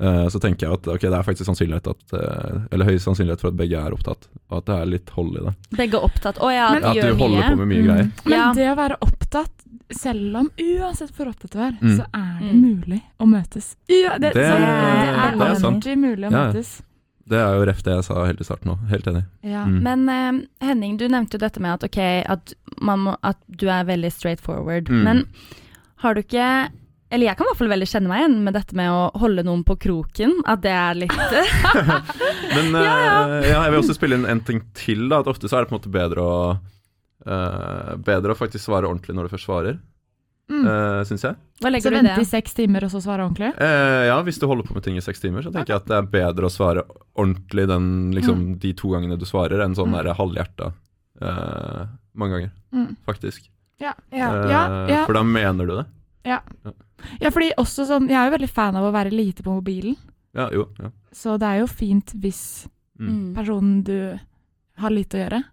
[SPEAKER 4] Eh, så tenker jeg at ok, det er faktisk sannsynlighet at eh, Eller høy sannsynlighet for at begge er opptatt, og at det er litt hold i det.
[SPEAKER 1] Begge er opptatt. Å ja,
[SPEAKER 2] Men-
[SPEAKER 1] du
[SPEAKER 4] At du
[SPEAKER 1] gjør
[SPEAKER 4] holder
[SPEAKER 1] mye.
[SPEAKER 4] på med mye
[SPEAKER 3] Mm.
[SPEAKER 4] greier.
[SPEAKER 2] Men
[SPEAKER 1] Ja.
[SPEAKER 2] det å være opptatt, selv om uansett hvor opptatt du er,
[SPEAKER 4] Mm.
[SPEAKER 2] så er det
[SPEAKER 1] Mm.
[SPEAKER 2] mulig å møtes. Ja, det,
[SPEAKER 4] Det-
[SPEAKER 2] sånn, det er
[SPEAKER 3] det er
[SPEAKER 4] sant.
[SPEAKER 2] alltid mulig å
[SPEAKER 4] Ja, ja.
[SPEAKER 2] møtes.
[SPEAKER 4] Det er jo ref det jeg sa helt i starten òg. Helt enig.
[SPEAKER 2] Ja.
[SPEAKER 4] Mm.
[SPEAKER 1] Men eh, Henning, du nevnte jo dette med at, ok, at, man må, at du er veldig straight forward.
[SPEAKER 4] Mm.
[SPEAKER 1] Men har du ikke Eller jeg kan i hvert fall veldig kjenne meg igjen med dette med å holde noen på kroken. At det er litt
[SPEAKER 4] Men eh, ja, jeg vil også spille inn en ting til. da At Ofte så er det på en måte bedre å eh, Bedre å faktisk svare ordentlig når du først svarer,
[SPEAKER 2] Mm.
[SPEAKER 4] uh, syns jeg.
[SPEAKER 1] Hva
[SPEAKER 2] Så
[SPEAKER 1] legger du i
[SPEAKER 2] vente
[SPEAKER 1] det?
[SPEAKER 2] i seks timer og så svare ordentlig?
[SPEAKER 4] Eh, ja, hvis du holder på med ting i seks timer, så tenker jeg at det er bedre å svare ordentlig den, liksom, de to gangene du svarer, enn sånn
[SPEAKER 2] Mm.
[SPEAKER 4] der halvhjerta eh, mange ganger, faktisk.
[SPEAKER 3] Ja.
[SPEAKER 4] Eh,
[SPEAKER 2] Ja, ja.
[SPEAKER 4] For da mener du det.
[SPEAKER 2] Ja, fordi også sånn, Jeg er jo veldig fan av å være lite på mobilen,
[SPEAKER 4] Ja, jo. Ja.
[SPEAKER 2] så det er jo fint hvis
[SPEAKER 4] Mm.
[SPEAKER 2] personen du har lite å gjøre.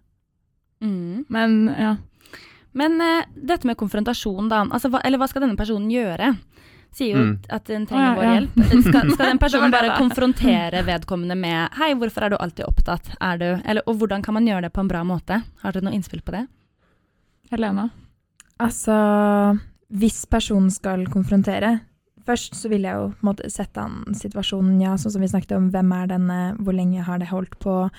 [SPEAKER 1] Mm. Mm.
[SPEAKER 2] Men ja.
[SPEAKER 1] Men eh, dette med konfrontasjon, da. Altså, hva, eller hva skal denne personen gjøre? Sier jo
[SPEAKER 4] Mm.
[SPEAKER 1] at den
[SPEAKER 2] Å, ja,
[SPEAKER 1] trenger vår
[SPEAKER 2] ja.
[SPEAKER 1] hjelp. Skal, skal den personen
[SPEAKER 2] Det var det,
[SPEAKER 1] bare
[SPEAKER 2] da.
[SPEAKER 1] konfrontere vedkommende med 'hei, hvorfor er du alltid opptatt', er du Eller, og hvordan kan man gjøre det på en bra måte? Har dere noe innspill på det?
[SPEAKER 2] Helena.
[SPEAKER 3] Altså, hvis personen skal konfrontere Først så vil jeg jo på en måte sette an situasjonen, ja, sånn som vi snakket om. Hvem er denne, hvor lenge har det holdt på?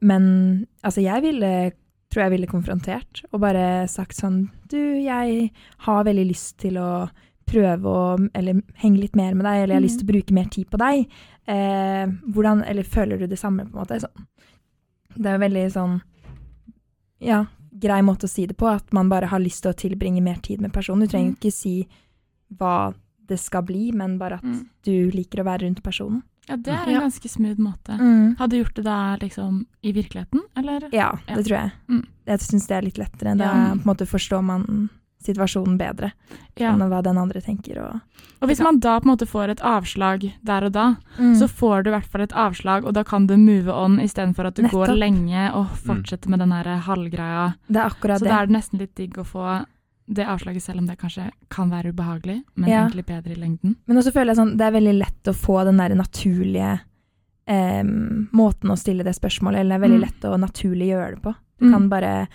[SPEAKER 3] Men altså, jeg ville, tror jeg ville konfrontert og bare sagt sånn Du, jeg har veldig lyst til å prøve å eller, henge litt mer med deg, eller jeg har lyst
[SPEAKER 2] Mm.
[SPEAKER 3] til å bruke mer tid på deg. Eh, hvordan, eller føler du det samme, på en måte? Sånn. Det er jo veldig sånn ja, grei måte å si det på, at man bare har lyst til å tilbringe mer tid med personen. Du trenger
[SPEAKER 2] Mm.
[SPEAKER 3] ikke si hva det skal bli, men bare at
[SPEAKER 2] Mm.
[SPEAKER 3] du liker å være rundt personen.
[SPEAKER 2] Ja, det er en
[SPEAKER 1] Ja.
[SPEAKER 2] ganske smooth måte. Hadde du gjort det da liksom i virkeligheten, eller?
[SPEAKER 3] Ja,
[SPEAKER 2] Mm. Ja.
[SPEAKER 3] det tror jeg.
[SPEAKER 2] Mm.
[SPEAKER 3] Jeg syns det er litt lettere. Da
[SPEAKER 2] Ja.
[SPEAKER 3] på en måte forstår man situasjonen bedre
[SPEAKER 2] Ja.
[SPEAKER 3] enn hva den andre tenker. Og,
[SPEAKER 2] Og hvis man da på en måte får et avslag der og da, så
[SPEAKER 3] så,
[SPEAKER 2] får du i hvert fall et avslag, og da kan du move on istedenfor at du går
[SPEAKER 3] Nettopp.
[SPEAKER 2] lenge
[SPEAKER 4] Mm.
[SPEAKER 2] og fortsetter med den her halvgreia.
[SPEAKER 3] det er akkurat
[SPEAKER 2] Så
[SPEAKER 3] det.
[SPEAKER 2] da er det nesten litt digg å få det avslaget, selv om det kanskje kan være ubehagelig, men
[SPEAKER 3] Ja.
[SPEAKER 2] egentlig bedre i lengden.
[SPEAKER 3] Men også føler jeg sånn, det er veldig lett å få den der naturlige em, måten å stille det spørsmålet, eller det er veldig
[SPEAKER 2] Mm.
[SPEAKER 3] lett å naturlig gjøre det på. Du kan bare,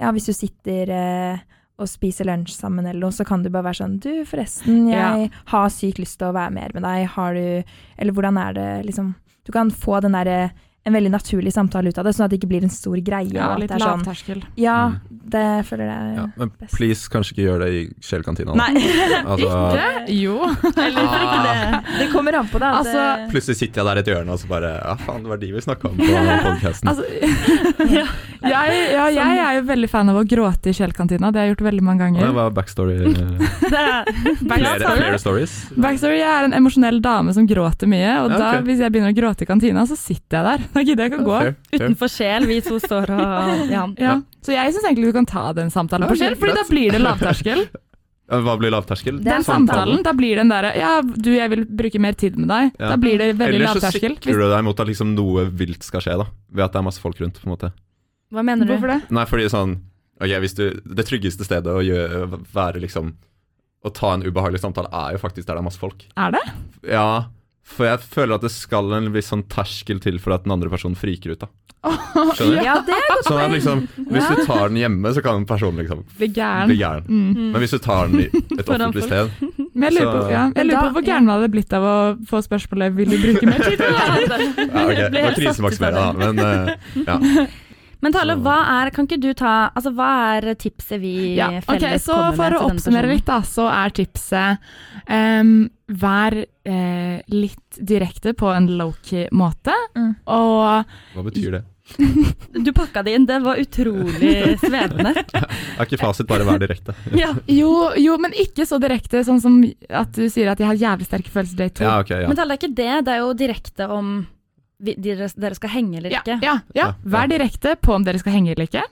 [SPEAKER 3] ja, hvis du sitter eh, og spiser lunsj sammen eller noe, så kan du bare være sånn, du forresten, jeg har sykt lyst til å være mer med deg, har du, eller hvordan er det, liksom, du kan få den der, eh, en veldig naturlig samtale ut av det, sånn at det ikke blir en stor greie.
[SPEAKER 2] Ja,
[SPEAKER 3] og at
[SPEAKER 2] litt
[SPEAKER 3] det er sånn,
[SPEAKER 2] lavterskel.
[SPEAKER 3] ja,
[SPEAKER 4] Mm.
[SPEAKER 3] det føler jeg.
[SPEAKER 4] Ja, men
[SPEAKER 3] best.
[SPEAKER 4] please, kanskje ikke gjør det i Shell-kantina. da.
[SPEAKER 3] Nei,
[SPEAKER 4] Altså,
[SPEAKER 2] Jo.
[SPEAKER 4] ah,
[SPEAKER 3] det kommer an på det. at
[SPEAKER 2] Altså,
[SPEAKER 3] det-
[SPEAKER 4] plutselig sitter jeg der i et hjørne og så bare Ja, faen, det var de vi snakka om på podkasten.
[SPEAKER 2] Altså, ja, jeg, ja, jeg
[SPEAKER 3] Sånn.
[SPEAKER 2] er jo veldig fan av å gråte i Shell-kantina. Det har jeg gjort veldig mange
[SPEAKER 4] Det
[SPEAKER 2] ganger.
[SPEAKER 4] var backstory eh, Flere, flere stories.
[SPEAKER 2] Backstory, Jeg er en emosjonell dame som gråter mye. Og
[SPEAKER 4] Ja,
[SPEAKER 2] da,
[SPEAKER 4] ok.
[SPEAKER 2] hvis jeg begynner å gråte i kantina, så sitter jeg der. Da gidder jeg ikke å gå.
[SPEAKER 4] Fair, fair.
[SPEAKER 1] Utenfor sjel, vi to står og ja.
[SPEAKER 2] Ja. Så jeg syns egentlig du kan ta den samtalen på
[SPEAKER 4] Ok,
[SPEAKER 2] Shell, Fordi da
[SPEAKER 4] greit.
[SPEAKER 2] blir det lavterskel.
[SPEAKER 4] Ja, Hva blir lavterskel?
[SPEAKER 3] Det er
[SPEAKER 2] Den samtalen, da blir den derre Ja, du, jeg vil bruke mer tid med deg.
[SPEAKER 4] Ja.
[SPEAKER 2] Da blir det veldig
[SPEAKER 4] Eller så
[SPEAKER 2] lavterskel.
[SPEAKER 4] sikrer du deg mot at liksom noe vilt skal skje, da. Ved at det er masse folk rundt, på en måte.
[SPEAKER 1] Hva mener du?
[SPEAKER 2] Hvorfor det?
[SPEAKER 4] Nei, fordi sånn Ok, hvis du Det tryggeste stedet å gjøre, være liksom Å ta en ubehagelig samtale er jo faktisk der det er masse folk.
[SPEAKER 2] Er det?
[SPEAKER 4] Ja, for jeg føler at det skal en viss sånn terskel til for at den andre personen friker ut, da. Skjønner du?
[SPEAKER 3] Ja, det er godt
[SPEAKER 4] Sånn at
[SPEAKER 3] poeng.
[SPEAKER 4] liksom, hvis du tar den hjemme, så kan personen liksom
[SPEAKER 2] Bli gæren.
[SPEAKER 4] bli gæren.
[SPEAKER 2] Mm.
[SPEAKER 4] Men hvis du tar den i et
[SPEAKER 1] Foran
[SPEAKER 4] offentlig sted
[SPEAKER 2] Men jeg lurer,
[SPEAKER 4] Så-
[SPEAKER 2] på, ja. jeg
[SPEAKER 3] Men
[SPEAKER 2] lurer
[SPEAKER 3] da-
[SPEAKER 2] på hvor gæren man hadde blitt av å få spørsmålet Vil du bruke mer tid.
[SPEAKER 4] Ja, ok, det var krisemaksimere, da, men eh, ja.
[SPEAKER 1] Men Tale,
[SPEAKER 4] Så-
[SPEAKER 1] hva er, kan ikke du ta, altså hva er tipset vi
[SPEAKER 2] Ja, ok,
[SPEAKER 1] felles
[SPEAKER 2] så
[SPEAKER 1] kommer med
[SPEAKER 2] For å
[SPEAKER 1] til denne
[SPEAKER 2] oppsummere
[SPEAKER 1] personen?
[SPEAKER 2] litt, da, så er tipset em, vær eh, litt direkte på en low-key måte.
[SPEAKER 3] Mm.
[SPEAKER 2] Og
[SPEAKER 4] Hva betyr det?
[SPEAKER 1] Du pakka det inn, det var utrolig svevende.
[SPEAKER 4] Er ikke fasit bare vær direkte?
[SPEAKER 1] Ja.
[SPEAKER 2] jo, jo, men ikke så direkte, sånn som at du sier at jeg har jævlig sterke følelser day to.
[SPEAKER 4] Ja, ok, ja.
[SPEAKER 1] Men Tale, det er ikke det, det er jo direkte om vi, dere, dere skal henge eller
[SPEAKER 2] Ja,
[SPEAKER 1] ikke.
[SPEAKER 2] ja, ja.
[SPEAKER 4] Ja,
[SPEAKER 2] Vær direkte på om dere skal henge eller ikke.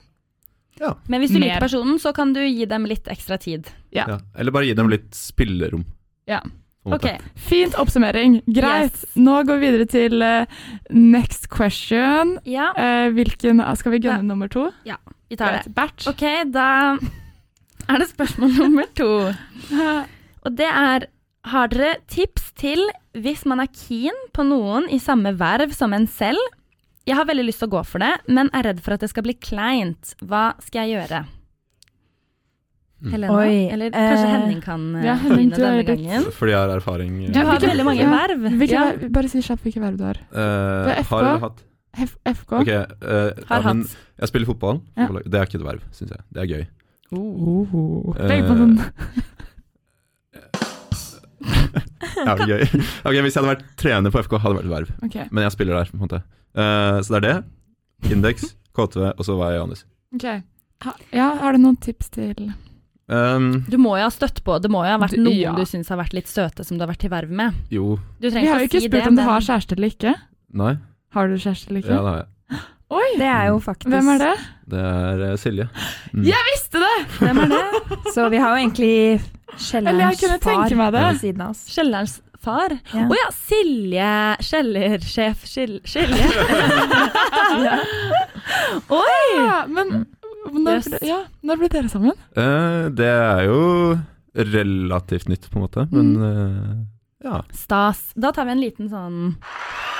[SPEAKER 1] Men hvis du
[SPEAKER 2] Mer.
[SPEAKER 1] liker personen, så kan du gi dem litt ekstra tid.
[SPEAKER 4] ja. Eller bare gi dem litt spillerom.
[SPEAKER 2] Ja.
[SPEAKER 4] på en måte.
[SPEAKER 1] Ok,
[SPEAKER 2] Fint oppsummering. Greit.
[SPEAKER 1] Yes.
[SPEAKER 2] Nå går vi videre til eh, next question.
[SPEAKER 1] ja,
[SPEAKER 2] Eh, hvilken Skal vi
[SPEAKER 1] Ja.
[SPEAKER 2] gunne nummer to?
[SPEAKER 1] vi tar det.
[SPEAKER 2] Greit. Bert.
[SPEAKER 1] Ok, da er det spørsmål nummer to. Og det er, har dere tips til hvis man er keen på noen i samme verv som en selv? Jeg har veldig lyst til å gå for det, men er redd for at det skal bli kleint. Hva skal jeg gjøre?
[SPEAKER 4] Mm.
[SPEAKER 1] Helene?
[SPEAKER 3] Oi,
[SPEAKER 1] Eller kanskje
[SPEAKER 3] eh,
[SPEAKER 1] Henning kan eh,
[SPEAKER 2] ja, Henning,
[SPEAKER 1] begynne
[SPEAKER 2] du er
[SPEAKER 1] denne
[SPEAKER 2] litt-
[SPEAKER 1] gangen?
[SPEAKER 4] Fordi jeg har erfaring. eh,
[SPEAKER 1] Du
[SPEAKER 2] Ja,
[SPEAKER 1] har
[SPEAKER 2] hvilken-
[SPEAKER 1] veldig mange
[SPEAKER 2] ja.
[SPEAKER 1] verv.
[SPEAKER 2] Hvilke,
[SPEAKER 1] ja.
[SPEAKER 2] verv- Bare si kjapt hvilke verv du har.
[SPEAKER 4] eh,
[SPEAKER 2] Det er FK.
[SPEAKER 4] har eller hatt?
[SPEAKER 2] F FK.
[SPEAKER 4] Ok, eh,
[SPEAKER 1] Har
[SPEAKER 4] ja, men
[SPEAKER 1] hatt.
[SPEAKER 4] jeg spiller fotball.
[SPEAKER 2] Ja.
[SPEAKER 4] Det er ikke et verv, syns jeg. Det er gøy.
[SPEAKER 2] Oh.
[SPEAKER 4] Eh,
[SPEAKER 2] Tenk på den.
[SPEAKER 4] Ja, det er gøy. Ok, Hvis jeg hadde vært trener på FK, hadde det vært et verv.
[SPEAKER 2] Ok.
[SPEAKER 4] Men jeg spiller der, på en måte. Eh, så det er det. Indeks, KTV, og så var jeg Johannes.
[SPEAKER 2] Ok. Ha, ja, har du noen tips til
[SPEAKER 4] Um,
[SPEAKER 1] Du må jo ha støtt på. Det må jo ha vært
[SPEAKER 2] Du-
[SPEAKER 1] noen
[SPEAKER 2] ja.
[SPEAKER 1] du syns har vært litt søte, som du har vært i verv med.
[SPEAKER 4] jo
[SPEAKER 1] Du
[SPEAKER 2] Vi har
[SPEAKER 1] trenger
[SPEAKER 2] jo
[SPEAKER 1] ikke å
[SPEAKER 2] ikke
[SPEAKER 1] si
[SPEAKER 2] spurt
[SPEAKER 1] det.
[SPEAKER 2] om du
[SPEAKER 1] men-
[SPEAKER 2] har kjæreste eller ikke.
[SPEAKER 4] Nei.
[SPEAKER 2] Har du kjæreste eller ikke?
[SPEAKER 4] Ja, det har jeg.
[SPEAKER 3] Det er jo faktisk
[SPEAKER 2] Hvem er det?
[SPEAKER 4] Det er eh, Silje.
[SPEAKER 2] Jeg visste det!
[SPEAKER 3] Hvem er det? Så vi har jo egentlig
[SPEAKER 2] Eller jeg
[SPEAKER 3] Kjellerens
[SPEAKER 2] kunne
[SPEAKER 3] far
[SPEAKER 2] tenke meg det.
[SPEAKER 3] ved siden av oss.
[SPEAKER 1] Kjellerens far. Å ja.
[SPEAKER 3] Ja.
[SPEAKER 1] Silje Kjellersjef Kjell, Kjelje.
[SPEAKER 2] Ja, men
[SPEAKER 4] Mm.
[SPEAKER 2] når,
[SPEAKER 1] Yes.
[SPEAKER 2] ble- ja, når ble dere sammen?
[SPEAKER 4] Eh, det er jo relativt nytt, på en måte. Men
[SPEAKER 1] Mm.
[SPEAKER 4] eh, ja,
[SPEAKER 1] Stas. Da tar vi en liten sånn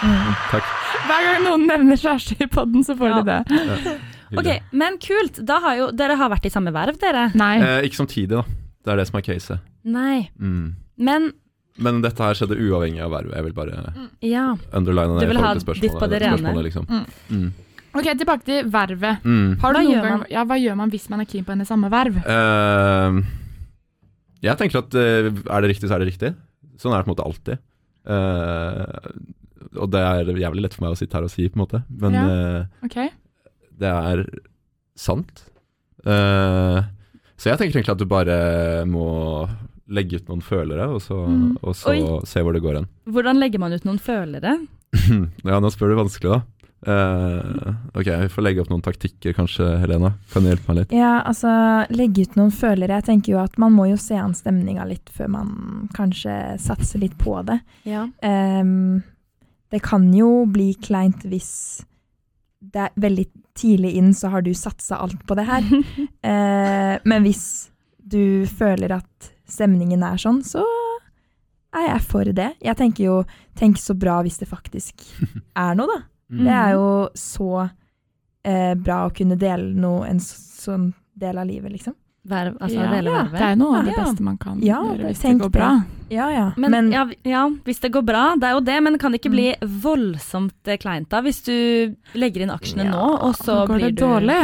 [SPEAKER 3] Mm.
[SPEAKER 4] takk.
[SPEAKER 2] Hver gang noen nevner kjæreste i podden, så får
[SPEAKER 1] Ja.
[SPEAKER 2] de det.
[SPEAKER 1] Ok,
[SPEAKER 4] Hyggelig.
[SPEAKER 1] men kult. Da har jo Dere har vært i samme verv, dere?
[SPEAKER 2] Nei.
[SPEAKER 4] Eh, ikke samtidig, da. Det er det som er caset.
[SPEAKER 1] Nei.
[SPEAKER 4] Mm.
[SPEAKER 1] Men
[SPEAKER 4] Men dette her skjedde uavhengig av vervet. Jeg vil bare
[SPEAKER 1] ja. Du
[SPEAKER 4] underline det i
[SPEAKER 1] vil ha
[SPEAKER 4] forhold til
[SPEAKER 1] ditt på
[SPEAKER 4] spørsmålet.
[SPEAKER 1] det rene.
[SPEAKER 4] spørsmålet, liksom.
[SPEAKER 2] Mm.
[SPEAKER 4] Mm.
[SPEAKER 2] Ok, tilbake til vervet.
[SPEAKER 4] Mm.
[SPEAKER 2] Har du
[SPEAKER 1] Hva
[SPEAKER 2] noen
[SPEAKER 1] gjør
[SPEAKER 2] gang,
[SPEAKER 1] man?
[SPEAKER 2] ja, hva gjør man hvis man er keen på henne samme verv?
[SPEAKER 4] Eh, Jeg tenker at eh, er det riktig, så er det riktig. Sånn er det på en måte alltid. Eh, og det er jævlig lett for meg å sitte her og si, på en måte, men eh,
[SPEAKER 2] Ok.
[SPEAKER 4] det er sant. Eh, så jeg tenker egentlig at du bare må legge ut noen følere, og så,
[SPEAKER 2] Mm.
[SPEAKER 4] og så
[SPEAKER 1] Oi.
[SPEAKER 4] se hvor det går hen.
[SPEAKER 1] Hvordan legger man ut noen følere?
[SPEAKER 4] ja, nå spør du vanskelig, da. Eh, ok, vi får legge opp noen taktikker kanskje, Helena. Kan du hjelpe meg litt?
[SPEAKER 3] Ja, altså legge ut noen følere. Jeg tenker jo at man må jo se an stemninga litt før man kanskje satser litt på det.
[SPEAKER 1] Ja.
[SPEAKER 3] Ehm, det kan jo bli kleint hvis det er veldig tidlig inn så har du satsa alt på det her. Eh, men hvis du føler at stemningen er sånn, så er jeg for det. Jeg tenker jo Tenk så bra hvis det faktisk er noe, da.
[SPEAKER 2] Mm.
[SPEAKER 3] Det er jo så eh, bra å kunne dele noe, en s- sånn del av livet, liksom.
[SPEAKER 1] Verv, altså
[SPEAKER 2] Ja,
[SPEAKER 1] dele
[SPEAKER 3] ja,
[SPEAKER 1] vervet.
[SPEAKER 2] Det er noe av det
[SPEAKER 3] Ja.
[SPEAKER 2] beste man kan
[SPEAKER 3] Ja,
[SPEAKER 2] gjøre hvis det
[SPEAKER 3] tenk
[SPEAKER 2] går
[SPEAKER 3] det.
[SPEAKER 2] bra.
[SPEAKER 3] Ja, ja.
[SPEAKER 1] Men,
[SPEAKER 3] Men,
[SPEAKER 1] ja, vi- ja, hvis det går bra, det er jo det, men kan det ikke bli voldsomt eh, kleint da, hvis du legger inn aksjene nå, og så
[SPEAKER 2] går
[SPEAKER 1] blir
[SPEAKER 2] det
[SPEAKER 1] du
[SPEAKER 2] dårlig.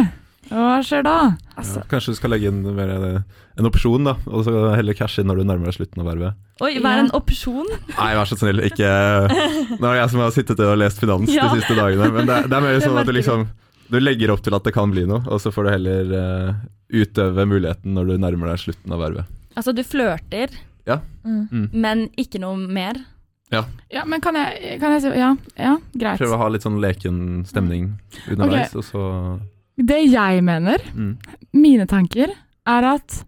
[SPEAKER 2] Hva skjer da?
[SPEAKER 3] altså,
[SPEAKER 4] Kanskje du skal legge inn mer eh, en opsjon, da, og så heller cashe inn når du nærmer deg slutten av vervet.
[SPEAKER 1] Oi, hva er
[SPEAKER 2] Ja.
[SPEAKER 1] en opsjon?
[SPEAKER 4] Nei, vær så snill, ikke Nå er det jeg som har sittet og lest finans
[SPEAKER 1] Ja.
[SPEAKER 4] de siste dagene, men det, er- det er mer
[SPEAKER 1] Det
[SPEAKER 4] sånn at du
[SPEAKER 1] merker
[SPEAKER 4] liksom Du legger opp til at det kan bli noe, og så får du heller eh, utøve muligheten når du nærmer deg slutten av vervet.
[SPEAKER 1] Altså, du flørter,
[SPEAKER 3] mm.
[SPEAKER 1] men ikke noe mer.
[SPEAKER 2] Ja, men kan jeg, kan jeg si Ja, ja greit.
[SPEAKER 4] Prøve å ha litt sånn leken stemning underveis, og så
[SPEAKER 2] Det jeg mener,
[SPEAKER 4] mm.
[SPEAKER 2] mine tanker, er at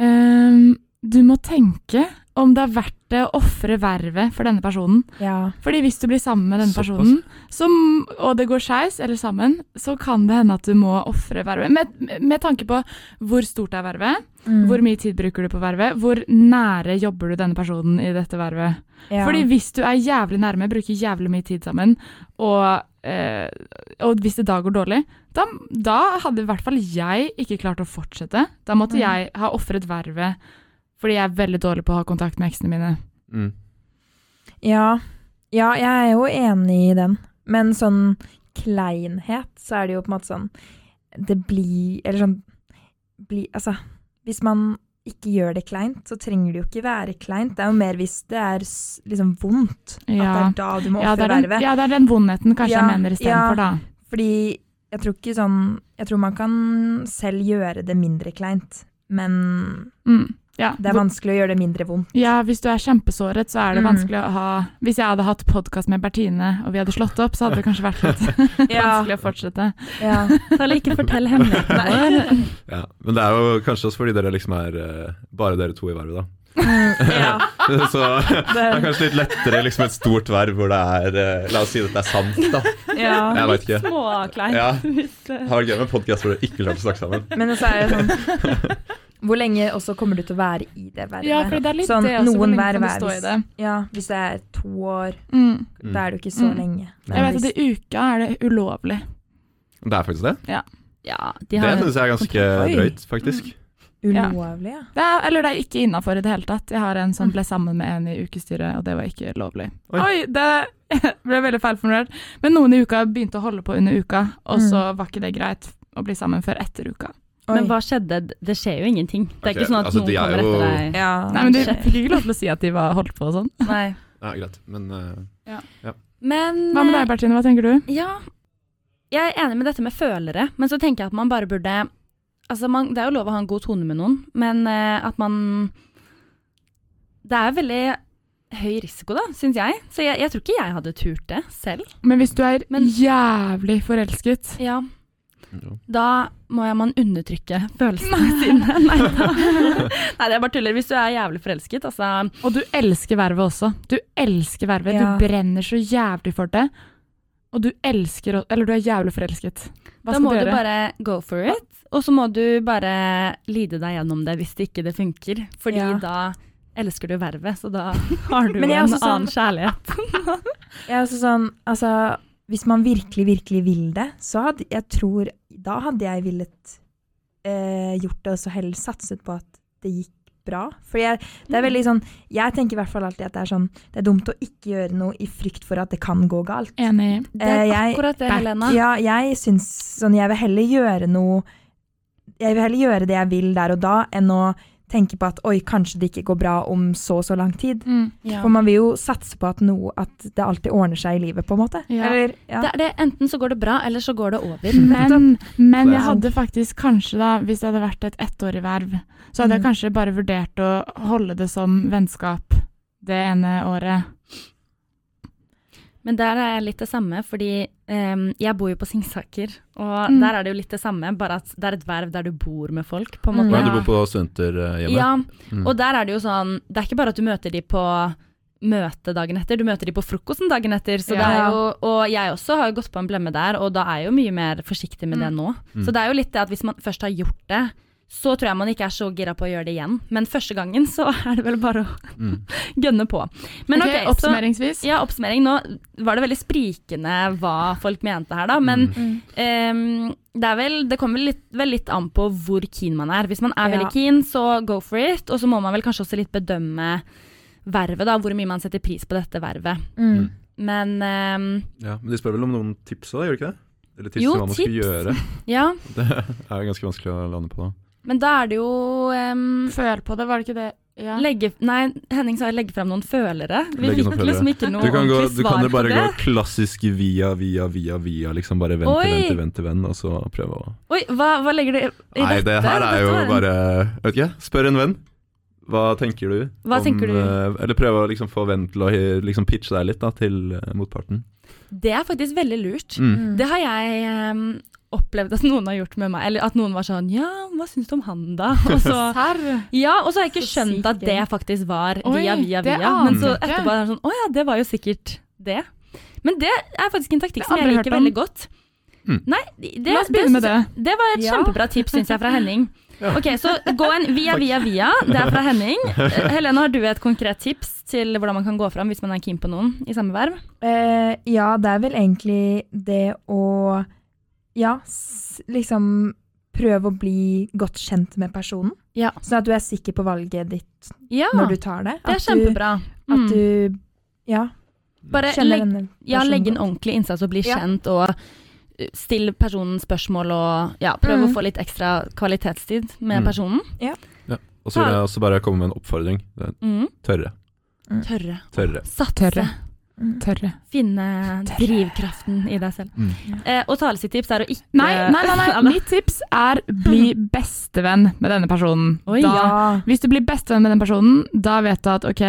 [SPEAKER 2] ehm, du må tenke om det er verdt det å ofre vervet for denne personen.
[SPEAKER 3] ja.
[SPEAKER 2] Fordi hvis du blir sammen med denne
[SPEAKER 4] Såpass.
[SPEAKER 2] personen, som, og det går skeis, eller sammen, så kan det hende at du må ofre vervet. Med, med tanke på hvor stort er vervet,
[SPEAKER 3] Mm.
[SPEAKER 2] hvor mye tid bruker du på vervet, hvor nære jobber du denne personen i dette vervet.
[SPEAKER 3] ja.
[SPEAKER 2] Fordi hvis du er jævlig nærme, bruker jævlig mye tid sammen, og, eh, og hvis det da går dårlig, da, da hadde i hvert fall jeg ikke klart å fortsette. Da måtte
[SPEAKER 3] Mm.
[SPEAKER 2] jeg ha ofret vervet, fordi jeg er veldig dårlig på å ha kontakt med eksene mine.
[SPEAKER 4] Mm.
[SPEAKER 3] Ja. ja, jeg er jo enig i den. Men sånn kleinhet, så er det jo på en måte sånn Det blir Eller sånn bli, Altså, hvis man ikke gjør det kleint, så trenger det jo ikke være kleint. Det er jo mer hvis det er s- liksom vondt, at det
[SPEAKER 2] Ja.
[SPEAKER 3] er da du må
[SPEAKER 2] Ja det,
[SPEAKER 3] ofre
[SPEAKER 2] er den,
[SPEAKER 3] vervet.
[SPEAKER 2] ja, det er den vondheten kanskje
[SPEAKER 3] Ja,
[SPEAKER 2] jeg mener istedenfor, da.
[SPEAKER 3] Fordi jeg tror ikke sånn Jeg tror man kan selv gjøre det mindre kleint, men
[SPEAKER 2] Mm, ja.
[SPEAKER 3] det er vanskelig å gjøre det mindre vondt.
[SPEAKER 2] ja, hvis du er kjempesåret, så er det
[SPEAKER 3] Mm.
[SPEAKER 2] vanskelig å ha Hvis jeg hadde hatt podkast med Bertine, og vi hadde slått opp, så hadde det kanskje vært litt vanskelig å fortsette.
[SPEAKER 3] ja.
[SPEAKER 1] Tale, ikke fortell hemmeligheten vår.
[SPEAKER 4] Ja, men det er jo kanskje også fordi dere liksom er eh, bare dere to i vervet, da.
[SPEAKER 3] ja.
[SPEAKER 4] så det er kanskje litt lettere liksom et stort verv hvor det er eh, La oss si at det er sant, da.
[SPEAKER 3] ja.
[SPEAKER 4] Jeg vet ikke.
[SPEAKER 1] Småkleint.
[SPEAKER 4] Ja.
[SPEAKER 1] hvis, eh,
[SPEAKER 4] Det har vært gøy med en podkast hvor dere ikke klarte å snakke sammen.
[SPEAKER 3] Men så er det sånn Hvor lenge også kommer du til å være i det vervet?
[SPEAKER 2] Ja, for det er litt
[SPEAKER 3] Sånn,
[SPEAKER 2] det også, hvor
[SPEAKER 3] noen
[SPEAKER 2] lenge
[SPEAKER 3] hver
[SPEAKER 2] kan du
[SPEAKER 3] hver
[SPEAKER 2] stå i
[SPEAKER 3] hvis-
[SPEAKER 2] det.
[SPEAKER 3] Ja, hvis det er to år,
[SPEAKER 2] Mm.
[SPEAKER 4] Mm.
[SPEAKER 3] da er det jo ikke så
[SPEAKER 2] Mm.
[SPEAKER 3] lenge. Det er
[SPEAKER 2] Jeg vet
[SPEAKER 3] visst-
[SPEAKER 2] at i uka er det ulovlig.
[SPEAKER 4] Det er faktisk det.
[SPEAKER 1] ja, de
[SPEAKER 4] Det
[SPEAKER 1] har
[SPEAKER 4] syns jeg er ganske
[SPEAKER 3] Oi.
[SPEAKER 4] drøyt, faktisk.
[SPEAKER 2] Ja.
[SPEAKER 3] Ulovlig, ja.
[SPEAKER 2] Det er, eller det er ikke innafor i det hele tatt. Jeg har en
[SPEAKER 3] Mm.
[SPEAKER 2] som ble sammen med en i ukestyret, og det var ikke lovlig.
[SPEAKER 4] Oi.
[SPEAKER 2] Oi, det ble veldig feilformulert. Men noen i uka begynte å holde på under uka, og
[SPEAKER 3] Mm.
[SPEAKER 2] så var ikke det greit å bli sammen før etter uka.
[SPEAKER 1] Men
[SPEAKER 3] Oi.
[SPEAKER 1] hva skjedde? Det skjer jo ingenting. Det er
[SPEAKER 4] Ok,
[SPEAKER 1] ikke sånn at
[SPEAKER 4] altså, de
[SPEAKER 1] noen
[SPEAKER 4] er
[SPEAKER 1] kommer
[SPEAKER 4] jo-
[SPEAKER 1] etter deg.
[SPEAKER 3] Ja,
[SPEAKER 2] Nei, men Du
[SPEAKER 3] shit.
[SPEAKER 2] fikk ikke lov til å si at de var holdt på og sånn.
[SPEAKER 1] Nei.
[SPEAKER 4] Ja, greit. Men eh,
[SPEAKER 1] Men eh,
[SPEAKER 2] Hva med deg, Bertine? Hva tenker du?
[SPEAKER 1] Ja, jeg er enig med dette med følere, men så tenker jeg at man bare burde Altså, man, det er jo lov å ha en god tone med noen, men eh, at man Det er veldig høy risiko, da, syns jeg. Så jeg, jeg tror ikke jeg hadde turt det selv.
[SPEAKER 2] Men hvis du er
[SPEAKER 1] Men-
[SPEAKER 2] jævlig forelsket
[SPEAKER 1] Ja,
[SPEAKER 4] jo.
[SPEAKER 1] da må jeg man undertrykke følelsene sine. Nei da. Nei, det er bare tuller. Hvis du er jævlig forelsket, altså
[SPEAKER 2] Og du elsker vervet også. Du elsker vervet.
[SPEAKER 3] Ja.
[SPEAKER 2] Du brenner så jævlig for det. Og du elsker å- Eller du er jævlig forelsket.
[SPEAKER 1] Da
[SPEAKER 2] Hva skal
[SPEAKER 1] må
[SPEAKER 2] du
[SPEAKER 1] du
[SPEAKER 2] gjøre?
[SPEAKER 1] bare go for it, og så må du bare lide deg gjennom det hvis det ikke det funker. Fordi
[SPEAKER 3] Ja.
[SPEAKER 1] da elsker du vervet, så da har du
[SPEAKER 3] Men
[SPEAKER 1] jo
[SPEAKER 3] jeg er
[SPEAKER 1] en
[SPEAKER 3] også sånn-
[SPEAKER 1] annen kjærlighet.
[SPEAKER 3] Jeg er også sånn, altså Hvis man virkelig, virkelig vil det, så hadde jeg tror Da hadde jeg villet eh, gjort det, og så heller satset på at det gikk bra. For jeg, det er veldig sånn Jeg tenker i hvert fall alltid at det er sånn Det er dumt å ikke gjøre noe i frykt for at det kan gå galt.
[SPEAKER 2] Enig.
[SPEAKER 1] Det er
[SPEAKER 3] Eh, jeg-
[SPEAKER 1] akkurat det,
[SPEAKER 2] Back.
[SPEAKER 1] Helena.
[SPEAKER 3] Ja, jeg syns sånn Jeg vil heller gjøre noe Jeg vil heller gjøre det jeg vil der og da, enn å tenke på at oi, kanskje det ikke går bra om så og så lang tid.
[SPEAKER 2] Mm.
[SPEAKER 1] Ja.
[SPEAKER 3] For man vil jo satse på at, noe, at det alltid ordner seg i livet, på en måte.
[SPEAKER 2] Ja.
[SPEAKER 3] Eller, ja.
[SPEAKER 1] Det er det, enten så går det bra, eller så går det over.
[SPEAKER 2] Men, men jeg
[SPEAKER 4] Så-
[SPEAKER 2] hadde faktisk kanskje da, hvis det hadde vært et ettårig verv, så hadde jeg
[SPEAKER 3] Mm.
[SPEAKER 2] kanskje bare vurdert å holde det som vennskap det ene året.
[SPEAKER 1] Men der er jeg litt det samme, fordi em, jeg bor jo på Singsaker. Og
[SPEAKER 2] Mm.
[SPEAKER 1] der er det jo litt det samme, bare at det er et verv der du bor med folk, på en
[SPEAKER 3] Mm.
[SPEAKER 1] måte.
[SPEAKER 4] Nei,
[SPEAKER 2] Ja.
[SPEAKER 4] Du bor på studenterhjemmet?
[SPEAKER 1] Ja,
[SPEAKER 4] Mm.
[SPEAKER 1] og der er det jo sånn Det er ikke bare at du møter de på møte dagen etter, du møter de på frokosten dagen etter. Så det
[SPEAKER 2] Ja.
[SPEAKER 1] er jo, og jeg også har jo gått på en blemme der, og da er jeg jo mye mer forsiktig med det
[SPEAKER 2] Mm.
[SPEAKER 1] nå.
[SPEAKER 4] Mm.
[SPEAKER 1] Så det er jo litt det at hvis man først har gjort det, så tror jeg man ikke er så gira på å gjøre det igjen. Men første gangen så er det vel bare å
[SPEAKER 4] Mm.
[SPEAKER 1] gønne på. Men ok, så
[SPEAKER 2] oppsummeringsvis.
[SPEAKER 1] ja, oppsummering. Nå var det veldig sprikende hva folk mente her, da. Men
[SPEAKER 4] Mm.
[SPEAKER 3] Mm.
[SPEAKER 1] ehm, det, er vel, det kommer litt, vel litt an på hvor keen man er. Hvis man er
[SPEAKER 3] Ja.
[SPEAKER 1] veldig keen, så go for it. Og så må man vel kanskje også litt bedømme vervet, da. Hvor mye man setter pris på dette vervet.
[SPEAKER 3] Mm.
[SPEAKER 1] Men ehm,
[SPEAKER 4] ja, Men de spør vel om noen tips òg, gjør de ikke det? Eller tips
[SPEAKER 1] Jo,
[SPEAKER 4] om hva man skal
[SPEAKER 1] tips.
[SPEAKER 4] gjøre.
[SPEAKER 1] ja.
[SPEAKER 4] Det er jo ganske vanskelig å lande på. da.
[SPEAKER 1] Men da er det jo ehm,
[SPEAKER 2] Føl på det, var det ikke det? Ja.
[SPEAKER 1] Legge, nei, Henning sa legge fram noen følere. Vi
[SPEAKER 4] Legge
[SPEAKER 1] fikk
[SPEAKER 4] noen
[SPEAKER 1] liksom ikke noe
[SPEAKER 4] Du kan, gå,
[SPEAKER 1] ordentlig
[SPEAKER 4] du kan
[SPEAKER 1] svar
[SPEAKER 4] jo bare
[SPEAKER 1] på det.
[SPEAKER 4] gå klassisk via, via, via, via. Liksom bare venn
[SPEAKER 1] Oi!
[SPEAKER 4] til venn til venn til venn, og så prøve å
[SPEAKER 1] Oi, hva, hva legger du i i
[SPEAKER 4] Nei,
[SPEAKER 1] dette?
[SPEAKER 4] det her
[SPEAKER 1] Dette
[SPEAKER 4] er jo
[SPEAKER 1] var en-
[SPEAKER 4] bare Vet ikke, spør en venn. Hva tenker du?
[SPEAKER 1] Hva tenker du?
[SPEAKER 4] eh, Eller prøve å liksom få venn til å he- liksom pitche deg litt da, til eh, motparten.
[SPEAKER 1] Det er faktisk veldig lurt.
[SPEAKER 4] Mm.
[SPEAKER 1] Det har jeg em, opplevd at noen har gjort med meg. Eller at noen var sånn Ja, hva syns du om han, da? Og så,
[SPEAKER 2] Serr?
[SPEAKER 1] ja, og så har jeg ikke
[SPEAKER 3] Så
[SPEAKER 1] skjønt at
[SPEAKER 3] sykt
[SPEAKER 1] det
[SPEAKER 3] gøy.
[SPEAKER 1] faktisk var
[SPEAKER 2] Oi,
[SPEAKER 1] via, via,
[SPEAKER 2] det
[SPEAKER 1] via.
[SPEAKER 2] aner
[SPEAKER 1] Men så
[SPEAKER 2] jeg ikke.
[SPEAKER 1] etterpå er det sånn Å ja, det var jo sikkert det. Men det er faktisk en taktikk
[SPEAKER 2] Det har
[SPEAKER 1] som
[SPEAKER 2] jeg
[SPEAKER 1] jeg
[SPEAKER 2] aldri
[SPEAKER 1] liker
[SPEAKER 2] hørt om.
[SPEAKER 1] veldig godt.
[SPEAKER 4] Mm.
[SPEAKER 1] Nei, det,
[SPEAKER 2] La oss begynne med det.
[SPEAKER 1] det var et
[SPEAKER 3] Ja.
[SPEAKER 1] kjempebra tips, syns jeg, fra Henning.
[SPEAKER 4] Ja.
[SPEAKER 1] Ok, Så gå en via, via, via. Det er fra Henning. Eh, Helene, har du et konkret tips til hvordan man kan gå fram hvis man er keen på noen i samme verv?
[SPEAKER 3] Eh, ja, det er vel egentlig det å Ja, s liksom prøve å bli godt kjent med personen.
[SPEAKER 1] Ja.
[SPEAKER 3] Sånn at du er sikker på valget ditt
[SPEAKER 1] Ja,
[SPEAKER 3] når du
[SPEAKER 1] det
[SPEAKER 3] tar det.
[SPEAKER 1] er kjempebra. Mm.
[SPEAKER 3] Du, at du ja,
[SPEAKER 1] Bare
[SPEAKER 3] kjenner
[SPEAKER 1] legg
[SPEAKER 3] denne
[SPEAKER 1] Ja,
[SPEAKER 3] personen
[SPEAKER 1] legge en
[SPEAKER 3] godt.
[SPEAKER 1] ordentlig innsats og bli
[SPEAKER 3] Ja.
[SPEAKER 1] kjent, og uh, still personen spørsmål og ja, prøve
[SPEAKER 3] Mm.
[SPEAKER 1] å få litt ekstra kvalitetstid med
[SPEAKER 4] Mm.
[SPEAKER 1] personen.
[SPEAKER 4] Og så vil jeg også bare komme med en oppfordring. Det er
[SPEAKER 1] Mm.
[SPEAKER 4] Tørre.
[SPEAKER 1] Tørre.
[SPEAKER 4] Tørre.
[SPEAKER 1] Satse.
[SPEAKER 2] Tørre.
[SPEAKER 3] Mm.
[SPEAKER 2] Tørre.
[SPEAKER 1] Finne
[SPEAKER 2] Tørre.
[SPEAKER 1] drivkraften i deg selv.
[SPEAKER 4] Mm.
[SPEAKER 1] Eh, og Tales sitt tips er å ikke
[SPEAKER 2] Nei, nei, nei, nei. mitt tips er bli bestevenn med denne personen.
[SPEAKER 1] Oi,
[SPEAKER 2] da,
[SPEAKER 3] Ja.
[SPEAKER 2] Hvis du blir bestevenn med den personen, da vet du at ok,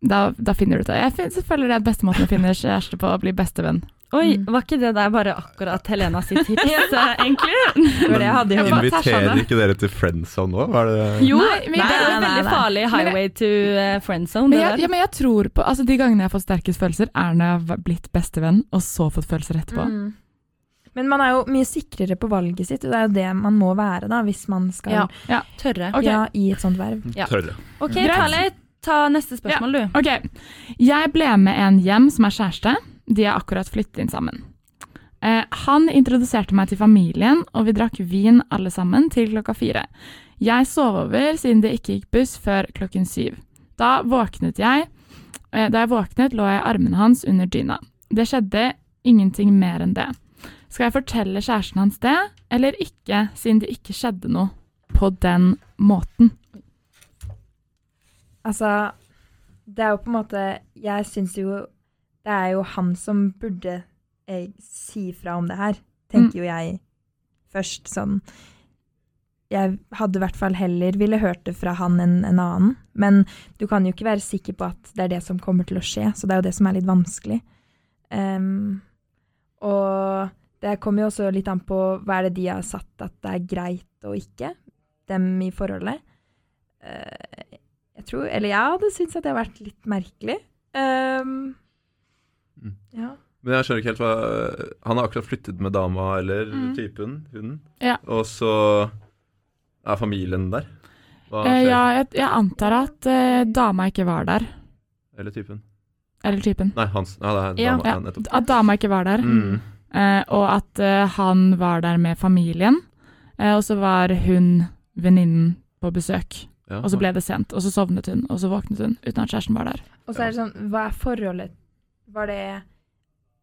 [SPEAKER 2] da, da finner du ut av det. Jeg fin- så føler det er beste måten å finne kjæreste på, å bli bestevenn.
[SPEAKER 1] Oi,
[SPEAKER 3] Mm.
[SPEAKER 1] var ikke det der bare akkurat Helena sitt tips, eh, egentlig?
[SPEAKER 3] Det var det jeg hadde i hodet.
[SPEAKER 2] bare tar
[SPEAKER 4] Inviterer
[SPEAKER 2] sånn,
[SPEAKER 4] ikke dere til friendzone nå? Hva er det
[SPEAKER 1] Jo,
[SPEAKER 2] Nei, men-
[SPEAKER 1] det er jo
[SPEAKER 3] Nei,
[SPEAKER 1] en
[SPEAKER 3] nei,
[SPEAKER 1] veldig
[SPEAKER 3] nei.
[SPEAKER 1] farlig highway to eh, friend zone.
[SPEAKER 2] Men
[SPEAKER 1] Det
[SPEAKER 2] jeg,
[SPEAKER 1] der.
[SPEAKER 2] ja, men jeg tror på, altså De gangene jeg har fått sterkest følelser, er når jeg har vært- blitt bestevenn, og så fått følelser etterpå.
[SPEAKER 3] Mm. Men man er jo mye sikrere på valget sitt, og det er jo det man må være da, hvis man skal
[SPEAKER 1] Ja.
[SPEAKER 3] ja.
[SPEAKER 1] Tørre.
[SPEAKER 2] Ok.
[SPEAKER 3] i et sånt verv.
[SPEAKER 1] Ja.
[SPEAKER 4] Tørre.
[SPEAKER 1] OK,
[SPEAKER 2] Greit.
[SPEAKER 1] Tale, ta neste spørsmål, du.
[SPEAKER 2] Ok, jeg ble med en hjem som er kjæreste. De er akkurat flyttet inn sammen. Eh, han introduserte meg til familien, og vi drakk vin alle sammen til klokka fire. Jeg sov over siden det ikke gikk buss før klokken syv. Da våknet jeg. Eh, da jeg våknet, lå jeg i armene hans under dyna. Det skjedde ingenting mer enn det. Skal jeg fortelle kjæresten hans det, eller ikke, siden det ikke skjedde noe på den måten?
[SPEAKER 3] Altså, det er jo på en måte Jeg syns jo Det er jo han som burde eh, si fra om det her, tenker jo jeg først. Sånn Jeg hadde i hvert fall heller ville hørt det fra han enn en annen. Men du kan jo ikke være sikker på at det er det som kommer til å skje, så det er jo det som er litt vanskelig. Ehm, og det kommer jo også litt an på hva er det de har satt at det er greit og ikke, dem i forholdet. Eh, jeg tror, eller jeg hadde syntes at det hadde vært litt merkelig. Ehm,
[SPEAKER 4] Mm.
[SPEAKER 3] ja.
[SPEAKER 4] Men jeg skjønner ikke helt hva Han har akkurat flyttet med dama eller
[SPEAKER 2] Mm.
[SPEAKER 4] typen, hunden.
[SPEAKER 2] Ja.
[SPEAKER 4] Og så er familien der. Hva
[SPEAKER 2] Eh,
[SPEAKER 4] skjer?
[SPEAKER 2] ja, jeg, jeg antar at eh, dama ikke var der.
[SPEAKER 4] Eller typen.
[SPEAKER 2] Eller typen.
[SPEAKER 4] Nei, hans. Ja, det er
[SPEAKER 1] Ja.
[SPEAKER 4] dama. Ja,
[SPEAKER 2] Ja,
[SPEAKER 4] nettopp.
[SPEAKER 2] at dama ikke var der,
[SPEAKER 4] Mm.
[SPEAKER 2] eh, og at eh, han var der med familien. Eh, og så var hun venninnen på besøk,
[SPEAKER 4] Ja,
[SPEAKER 2] og så ble det sent. Og så sovnet hun, og så våknet hun uten at kjæresten var der.
[SPEAKER 3] Og så er det sånn, hva er forholdet Var det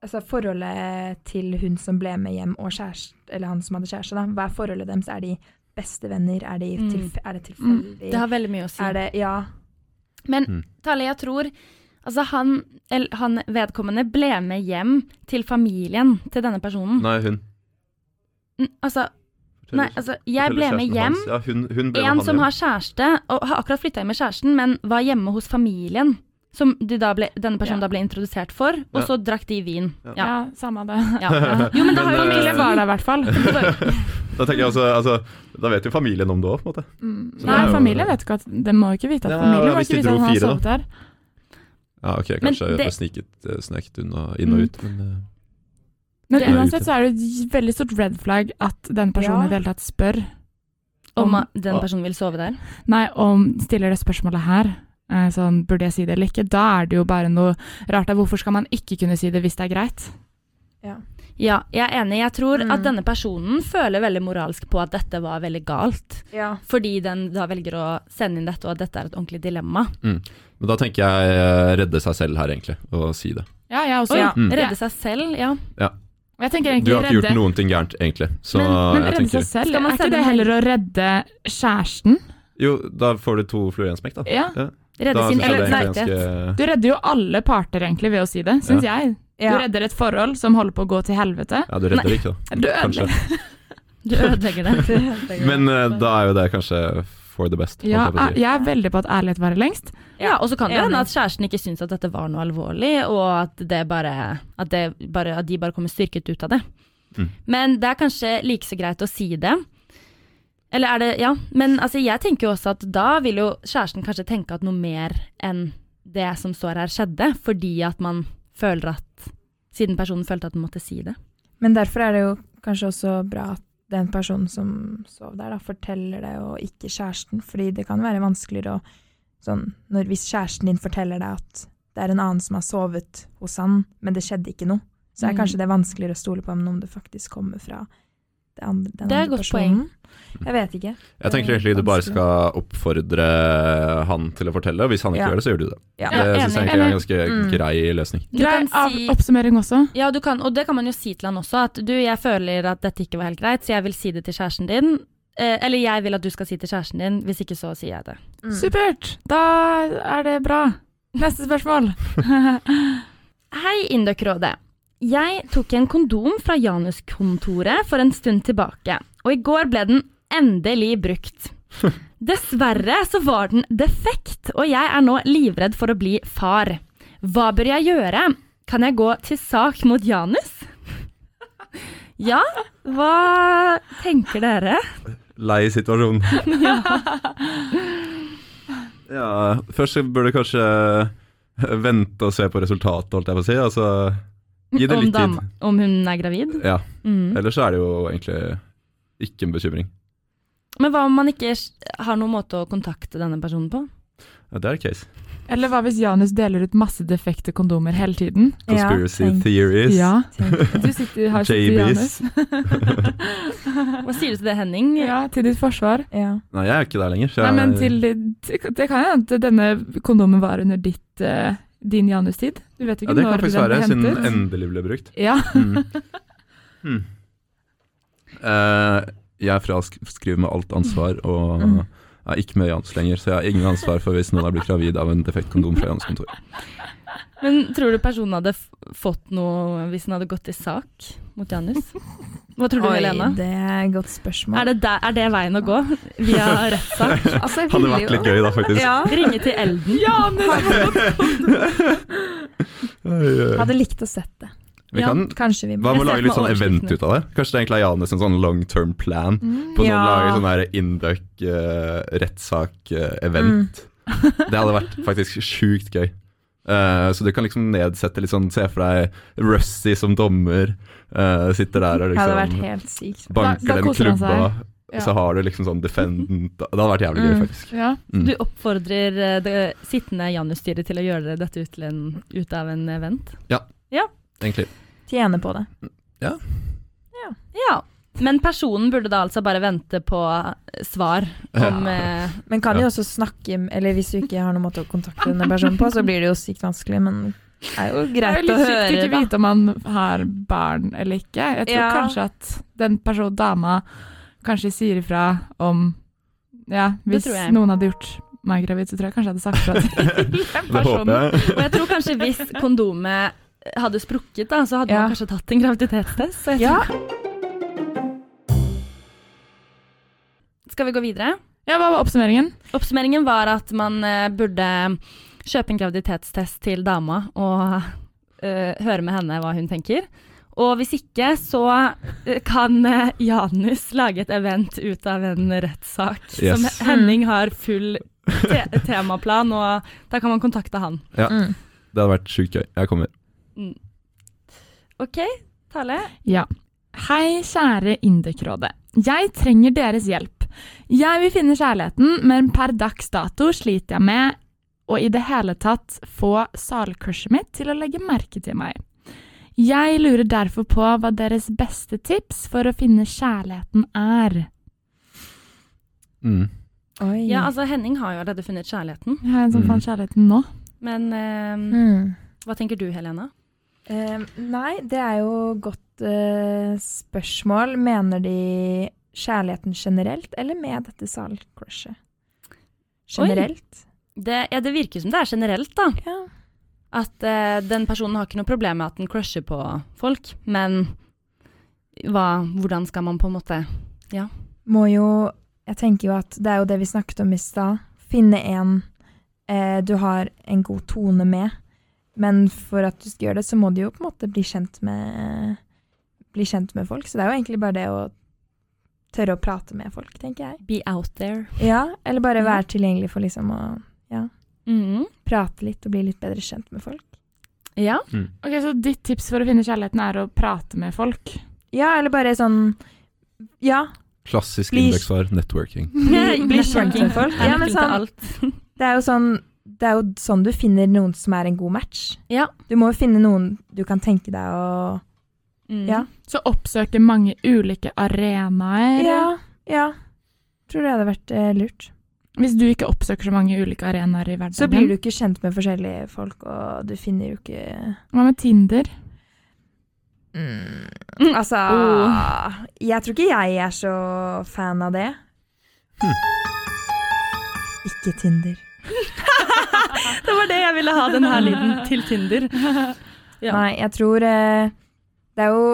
[SPEAKER 3] Altså forholdet til hun som ble med hjem, og kjæreste, eller han som hadde kjæreste, da. Hva er forholdet deres? Er de beste venner? Er det,
[SPEAKER 1] Mm.
[SPEAKER 3] tilf er det tilfeldig?
[SPEAKER 1] Mm, det har veldig mye å si.
[SPEAKER 3] er det Ja.
[SPEAKER 1] Men
[SPEAKER 4] Mm.
[SPEAKER 1] Tale, jeg tror Altså, han, eller, han vedkommende ble med hjem til familien til denne personen.
[SPEAKER 4] Nei, hun.
[SPEAKER 1] Mm, Altså, nei, altså jeg ble
[SPEAKER 4] Forteller
[SPEAKER 1] med
[SPEAKER 4] kjæresten
[SPEAKER 1] hjem.
[SPEAKER 4] hans. Ja, hun, hun ble med
[SPEAKER 1] En
[SPEAKER 4] han
[SPEAKER 1] som
[SPEAKER 4] hjem.
[SPEAKER 1] har kjæreste, og har akkurat flytta hjem med kjæresten, men var hjemme hos familien. Som de da ble, denne personen da
[SPEAKER 2] Ja.
[SPEAKER 1] ble introdusert for, og
[SPEAKER 4] Ja.
[SPEAKER 1] så drakk de vin.
[SPEAKER 2] Ja,
[SPEAKER 1] Ja.
[SPEAKER 2] samme det.
[SPEAKER 1] Ja. Jo, men det har jo
[SPEAKER 4] Men,
[SPEAKER 1] ikke
[SPEAKER 2] Familien
[SPEAKER 4] eh,
[SPEAKER 2] var der i hvert fall.
[SPEAKER 4] Da tenker jeg altså, altså Da vet jo familien om det òg, på en måte. Så
[SPEAKER 2] Mm. Nei,
[SPEAKER 4] det er jo-
[SPEAKER 2] familien vet ikke at De må ikke vite at
[SPEAKER 4] Ja,
[SPEAKER 2] familien må
[SPEAKER 4] hvis de
[SPEAKER 2] ikke vite
[SPEAKER 4] dro
[SPEAKER 2] at han har
[SPEAKER 4] fire, da.
[SPEAKER 2] sovet der.
[SPEAKER 4] Ja, ok,
[SPEAKER 1] Men
[SPEAKER 4] kanskje
[SPEAKER 1] det- Mm.
[SPEAKER 4] jeg sniket eh, sneket unna, inn og ut, men eh,
[SPEAKER 2] Men
[SPEAKER 1] Det-
[SPEAKER 2] uansett så er det et veldig stort red flag at den personen
[SPEAKER 3] Ja.
[SPEAKER 2] i det hele tatt spør.
[SPEAKER 1] Om
[SPEAKER 2] Om-
[SPEAKER 1] at den personen vil sove der.
[SPEAKER 2] Nei, om stiller det spørsmålet her. eh, Sånn, burde jeg si det eller ikke? Da er det jo bare noe rart. der. Hvorfor skal man ikke kunne si det hvis det er greit?
[SPEAKER 1] Ja, jeg er enig. Jeg tror
[SPEAKER 3] Mm.
[SPEAKER 1] at denne personen føler veldig moralsk på at dette var veldig galt.
[SPEAKER 3] ja.
[SPEAKER 1] Fordi den da velger å sende inn dette, og at dette er et ordentlig dilemma.
[SPEAKER 4] Men da tenker jeg eh, redde seg selv her, egentlig, og si det.
[SPEAKER 2] Ja, jeg også.
[SPEAKER 1] Oi,
[SPEAKER 2] ja.
[SPEAKER 4] Mm.
[SPEAKER 1] Redde seg selv, ja.
[SPEAKER 2] Og Jeg tenker
[SPEAKER 4] Du
[SPEAKER 2] egentlig
[SPEAKER 4] har ikke gjort
[SPEAKER 2] redde
[SPEAKER 4] noen ting gærent, egentlig. Så
[SPEAKER 2] Men
[SPEAKER 4] jeg
[SPEAKER 2] redde
[SPEAKER 4] tenker
[SPEAKER 2] seg selv,
[SPEAKER 1] Skal
[SPEAKER 2] er
[SPEAKER 1] man
[SPEAKER 2] ikke
[SPEAKER 1] sende
[SPEAKER 2] det
[SPEAKER 1] en
[SPEAKER 2] heller å redde kjæresten?
[SPEAKER 4] Jo, da får du to fluer i én smekk, da.
[SPEAKER 2] Ja.
[SPEAKER 1] Redde
[SPEAKER 4] Da
[SPEAKER 1] sin
[SPEAKER 4] synes
[SPEAKER 1] egen
[SPEAKER 4] jeg det er egentlig
[SPEAKER 1] samvittighet.
[SPEAKER 4] ganske
[SPEAKER 2] Du redder jo alle parter egentlig ved å si det, syns jeg. Du
[SPEAKER 3] Ja.
[SPEAKER 2] redder et forhold som holder på å gå til helvete.
[SPEAKER 4] Ja, du redder ikke, da.
[SPEAKER 2] Du
[SPEAKER 4] Kanskje.
[SPEAKER 2] ødelegger
[SPEAKER 1] Du ødelegger det.
[SPEAKER 4] Men eh, da er jo det kanskje for the best. holdt
[SPEAKER 2] ja,
[SPEAKER 4] jeg på å si.
[SPEAKER 2] Jeg er veldig på at ærlighet varer lengst.
[SPEAKER 1] Ja, og så kan det jo
[SPEAKER 3] Enig.
[SPEAKER 1] hende at kjæresten ikke syns at dette var noe alvorlig, og at, det bare, at, det bare, at de bare kommer styrket ut av det.
[SPEAKER 4] Mm.
[SPEAKER 1] Men det er kanskje like så greit å si det. Eller er det Ja, men altså, jeg tenker jo også at da vil jo kjæresten kanskje tenke at noe mer enn det som står her, skjedde, fordi at man føler at Siden personen følte at den måtte si det.
[SPEAKER 3] Men derfor er det jo kanskje også bra at den personen som sov der, da, forteller det, og ikke kjæresten. Fordi det kan være vanskeligere å sånn, når, Hvis kjæresten din forteller deg at det er en annen som har sovet hos han, men det skjedde ikke noe, så er
[SPEAKER 1] Mm.
[SPEAKER 3] kanskje det vanskeligere å stole på enn om det faktisk kommer fra det andre, den
[SPEAKER 1] Det er et
[SPEAKER 3] andre
[SPEAKER 1] godt
[SPEAKER 3] personen. Jeg vet ikke.
[SPEAKER 4] Jeg tenker egentlig du bare skal oppfordre han til å fortelle, og hvis han ikke
[SPEAKER 3] Ja.
[SPEAKER 4] gjør det, så gjør du det.
[SPEAKER 3] Ja.
[SPEAKER 4] Det
[SPEAKER 1] Ja,
[SPEAKER 4] syns jeg
[SPEAKER 1] enig.
[SPEAKER 4] egentlig er en ganske
[SPEAKER 3] Mm.
[SPEAKER 4] grei løsning.
[SPEAKER 1] Du
[SPEAKER 2] Grei
[SPEAKER 1] kan
[SPEAKER 2] av
[SPEAKER 1] si-
[SPEAKER 2] oppsummering også.
[SPEAKER 1] Ja, du kan, og det kan man jo si til han også, at du, jeg føler at dette ikke var helt greit, så jeg vil si det til kjæresten din. Eh, eller jeg vil at du skal si til kjæresten din, hvis ikke så sier jeg det.
[SPEAKER 3] Mm.
[SPEAKER 2] Supert! Da er det bra. Neste spørsmål.
[SPEAKER 1] Hei, Indøkrådet. Jeg tok en kondom fra Januskontoret for en stund tilbake, og i går ble den endelig brukt. Dessverre så var den defekt, og jeg er nå livredd for å bli far. Hva bør jeg gjøre? Kan jeg gå til sak mot Janus? Ja, hva tenker dere?
[SPEAKER 4] Lei situasjonen. ja, først så burde du kanskje vente og se på resultatet, holdt jeg på å si. Altså, gi det
[SPEAKER 1] om
[SPEAKER 4] litt tid.
[SPEAKER 1] dam- Om hun er gravid?
[SPEAKER 4] Ja,
[SPEAKER 1] Mm.
[SPEAKER 4] ellers så er det jo egentlig ikke en bekymring.
[SPEAKER 1] Men hva om man ikke s- har noen måte å kontakte denne personen på?
[SPEAKER 4] Ja, det er case.
[SPEAKER 2] Eller hva hvis Janus deler ut masse defekte kondomer hele tiden?
[SPEAKER 4] Conspiracy
[SPEAKER 3] tenk-
[SPEAKER 4] theories.
[SPEAKER 2] Ja.
[SPEAKER 3] tenk.
[SPEAKER 2] Du sitter her sitter
[SPEAKER 4] JBs.
[SPEAKER 2] Janus.
[SPEAKER 1] Hva sier du til det, Henning?
[SPEAKER 2] Ja, til ditt forsvar.
[SPEAKER 3] Ja.
[SPEAKER 4] Nei, jeg er ikke der lenger. Så
[SPEAKER 2] Nei,
[SPEAKER 4] jeg,
[SPEAKER 2] men til Det kan hende at denne kondomen var under ditt, eh, din Janus-tid. Du vet
[SPEAKER 4] ja,
[SPEAKER 2] ikke
[SPEAKER 4] det kan
[SPEAKER 2] når den
[SPEAKER 4] faktisk
[SPEAKER 2] ble
[SPEAKER 4] være, siden
[SPEAKER 2] hentet.
[SPEAKER 4] den endelig ble brukt.
[SPEAKER 2] Ja.
[SPEAKER 4] Mm. Mm. Eh, jeg fraskriver meg alt ansvar og
[SPEAKER 3] Mm.
[SPEAKER 4] er ikke med i Jans lenger, så jeg har ingen ansvar for hvis noen er blitt gravid av en defekt kondom fra Jans kontor.
[SPEAKER 1] Men tror du personen hadde f fått noe hvis den hadde gått i sak mot Janus? Hva tror du, Helene?
[SPEAKER 3] det er et godt spørsmål.
[SPEAKER 1] Er det, der, er det veien å gå? Via rettssak?
[SPEAKER 3] altså, jeg
[SPEAKER 4] Hadde
[SPEAKER 3] ville
[SPEAKER 4] vært
[SPEAKER 3] jo-
[SPEAKER 4] litt gøy da, faktisk.
[SPEAKER 3] Ja.
[SPEAKER 1] Ringe til Elden?
[SPEAKER 3] Hadde likt å sett det.
[SPEAKER 4] Vi kan,
[SPEAKER 3] Kanskje vi
[SPEAKER 4] hva med å lage litt sånn
[SPEAKER 1] Jeg ser for meg
[SPEAKER 4] event ut av det? Kanskje det egentlig er Janes en sånn long term plan?
[SPEAKER 2] Mm,
[SPEAKER 4] På sånn,
[SPEAKER 3] Ja.
[SPEAKER 4] Lage sånn her Induc-rettssak-event. Det hadde vært faktisk sjukt gøy. Eh, så du kan liksom nedsette litt sånn Se for deg Rusty som dommer. eh, sitter der og
[SPEAKER 3] Det hadde vært
[SPEAKER 4] liksom
[SPEAKER 3] helt sykt.
[SPEAKER 4] banker
[SPEAKER 2] Da- da
[SPEAKER 4] den
[SPEAKER 2] koser han
[SPEAKER 4] klubba.
[SPEAKER 2] Ja.
[SPEAKER 4] Så har du liksom sånn defendant Det hadde vært jævlig gøy,
[SPEAKER 3] Mm.
[SPEAKER 4] faktisk.
[SPEAKER 2] Ja.
[SPEAKER 4] Mm.
[SPEAKER 1] Du oppfordrer eh, det sittende Janus-styret til å gjøre dette ut, til en, ut av en event?
[SPEAKER 4] Egentlig.
[SPEAKER 3] Tjene på det.
[SPEAKER 1] Ja. Men personen burde da altså bare vente på eh, svar om eh,
[SPEAKER 3] Men kan
[SPEAKER 4] Ja.
[SPEAKER 3] jo også snakke Eller hvis du ikke har noen måte å kontakte denne personen på, så blir det jo sykt vanskelig, men det er jo greit
[SPEAKER 2] det er jo litt
[SPEAKER 3] å
[SPEAKER 2] kjekt å
[SPEAKER 3] høre,
[SPEAKER 2] ikke
[SPEAKER 3] da.
[SPEAKER 2] vite om man har barn eller ikke. Jeg tror
[SPEAKER 3] Ja.
[SPEAKER 2] kanskje at den personen, dama kanskje sier ifra om Ja,
[SPEAKER 1] Det
[SPEAKER 2] hvis
[SPEAKER 1] tror jeg.
[SPEAKER 2] noen hadhadde gjort meg gravid, så tror jeg kanskje jeg hadde sagt fra til den
[SPEAKER 4] Det håper
[SPEAKER 2] personen.
[SPEAKER 4] jeg.
[SPEAKER 1] Og jeg tror kanskje hvis kondomet hadde sprukket, da, så hadde
[SPEAKER 2] Ja.
[SPEAKER 1] man kanskje tatt en graviditetstest. Så jeg
[SPEAKER 2] Ja.
[SPEAKER 1] tror... Skal vi gå videre?
[SPEAKER 2] Ja, hva var oppsummeringen?
[SPEAKER 1] Oppsummeringen var at man eh, burde kjøpe en graviditetstest til dama og eh, høre med henne hva hun tenker. Og hvis ikke, så eh, kan eh, Janus lage et event ut av en rettssak.
[SPEAKER 4] Yes.
[SPEAKER 1] Som Henning har full te temaplan, og da kan man kontakte han.
[SPEAKER 3] Mm.
[SPEAKER 4] Det hadde vært sjukt gøy. Jeg kommer.
[SPEAKER 1] OK, Tale.
[SPEAKER 2] Ja. Hei, kjære Indicrådet. Jeg trenger deres hjelp. Jeg vil finne kjærligheten, men per dags dato sliter jeg med å i det hele tatt få salcrushet mitt til å legge merke til meg. Jeg lurer derfor på hva deres beste tips for å finne kjærligheten er.
[SPEAKER 4] Mm.
[SPEAKER 3] Oi.
[SPEAKER 1] Ja, altså Henning har jo allerede funnet kjærligheten.
[SPEAKER 2] Jeg er en som
[SPEAKER 4] Mm.
[SPEAKER 2] fant kjærligheten nå.
[SPEAKER 1] Men eh,
[SPEAKER 3] Mm.
[SPEAKER 1] hva tenker du, Helena?
[SPEAKER 3] Eh, nei, det er jo godt eh, spørsmål. Mener de kjærligheten generelt, eller med dette salcrushet? Generelt?
[SPEAKER 1] Det, ja, det virker som det er generelt, da.
[SPEAKER 3] Ja.
[SPEAKER 1] At eh, den personen har ikke noe problem med at den crusher på folk, men hva, hvordan skal man på en måte
[SPEAKER 3] Må jo Jeg tenker jo at det er jo det vi snakket om i stad. Finne en eh, du har en god tone med. Men for at du skal gjøre det, så må du jo på en måte bli kjent med bli kjent med folk. Så det er jo egentlig bare det å tørre å prate med folk, tenker jeg.
[SPEAKER 1] be out there?
[SPEAKER 3] Ja, Eller bare
[SPEAKER 1] Ja.
[SPEAKER 3] være tilgjengelig for liksom å
[SPEAKER 1] Mhm.
[SPEAKER 3] prate litt og bli litt bedre kjent med folk.
[SPEAKER 1] Ja.
[SPEAKER 2] Ok, Så ditt tips for å finne kjærligheten er å prate med folk?
[SPEAKER 3] Ja, eller bare sånn Ja,
[SPEAKER 4] Klassisk
[SPEAKER 3] Blir-
[SPEAKER 4] indeksvar networking.
[SPEAKER 1] Bli
[SPEAKER 3] kjent med folk.
[SPEAKER 1] Ja,
[SPEAKER 3] Ja, men sånn- det er jo sånn det er jo sånn du finner noen som er en god match.
[SPEAKER 1] Ja.
[SPEAKER 3] Du må jo finne noen du kan tenke deg å
[SPEAKER 1] Mm.
[SPEAKER 3] Ja.
[SPEAKER 2] Så oppsøke mange ulike arenaer?
[SPEAKER 3] Ja, ja. Tror det hadde vært eh, lurt.
[SPEAKER 2] Hvis du ikke oppsøker så mange ulike arenaer i hverdagen?
[SPEAKER 3] Så blir du ikke kjent med forskjellige folk, og du finner jo ikke
[SPEAKER 2] Hva med Tinder?
[SPEAKER 3] Altså Jeg tror ikke jeg er så fan av det.
[SPEAKER 4] Hmm.
[SPEAKER 3] Ikke Tinder.
[SPEAKER 1] Det var det jeg ville ha, den her lyden til Tinder. Ja.
[SPEAKER 3] Nei, jeg tror eh, Det er jo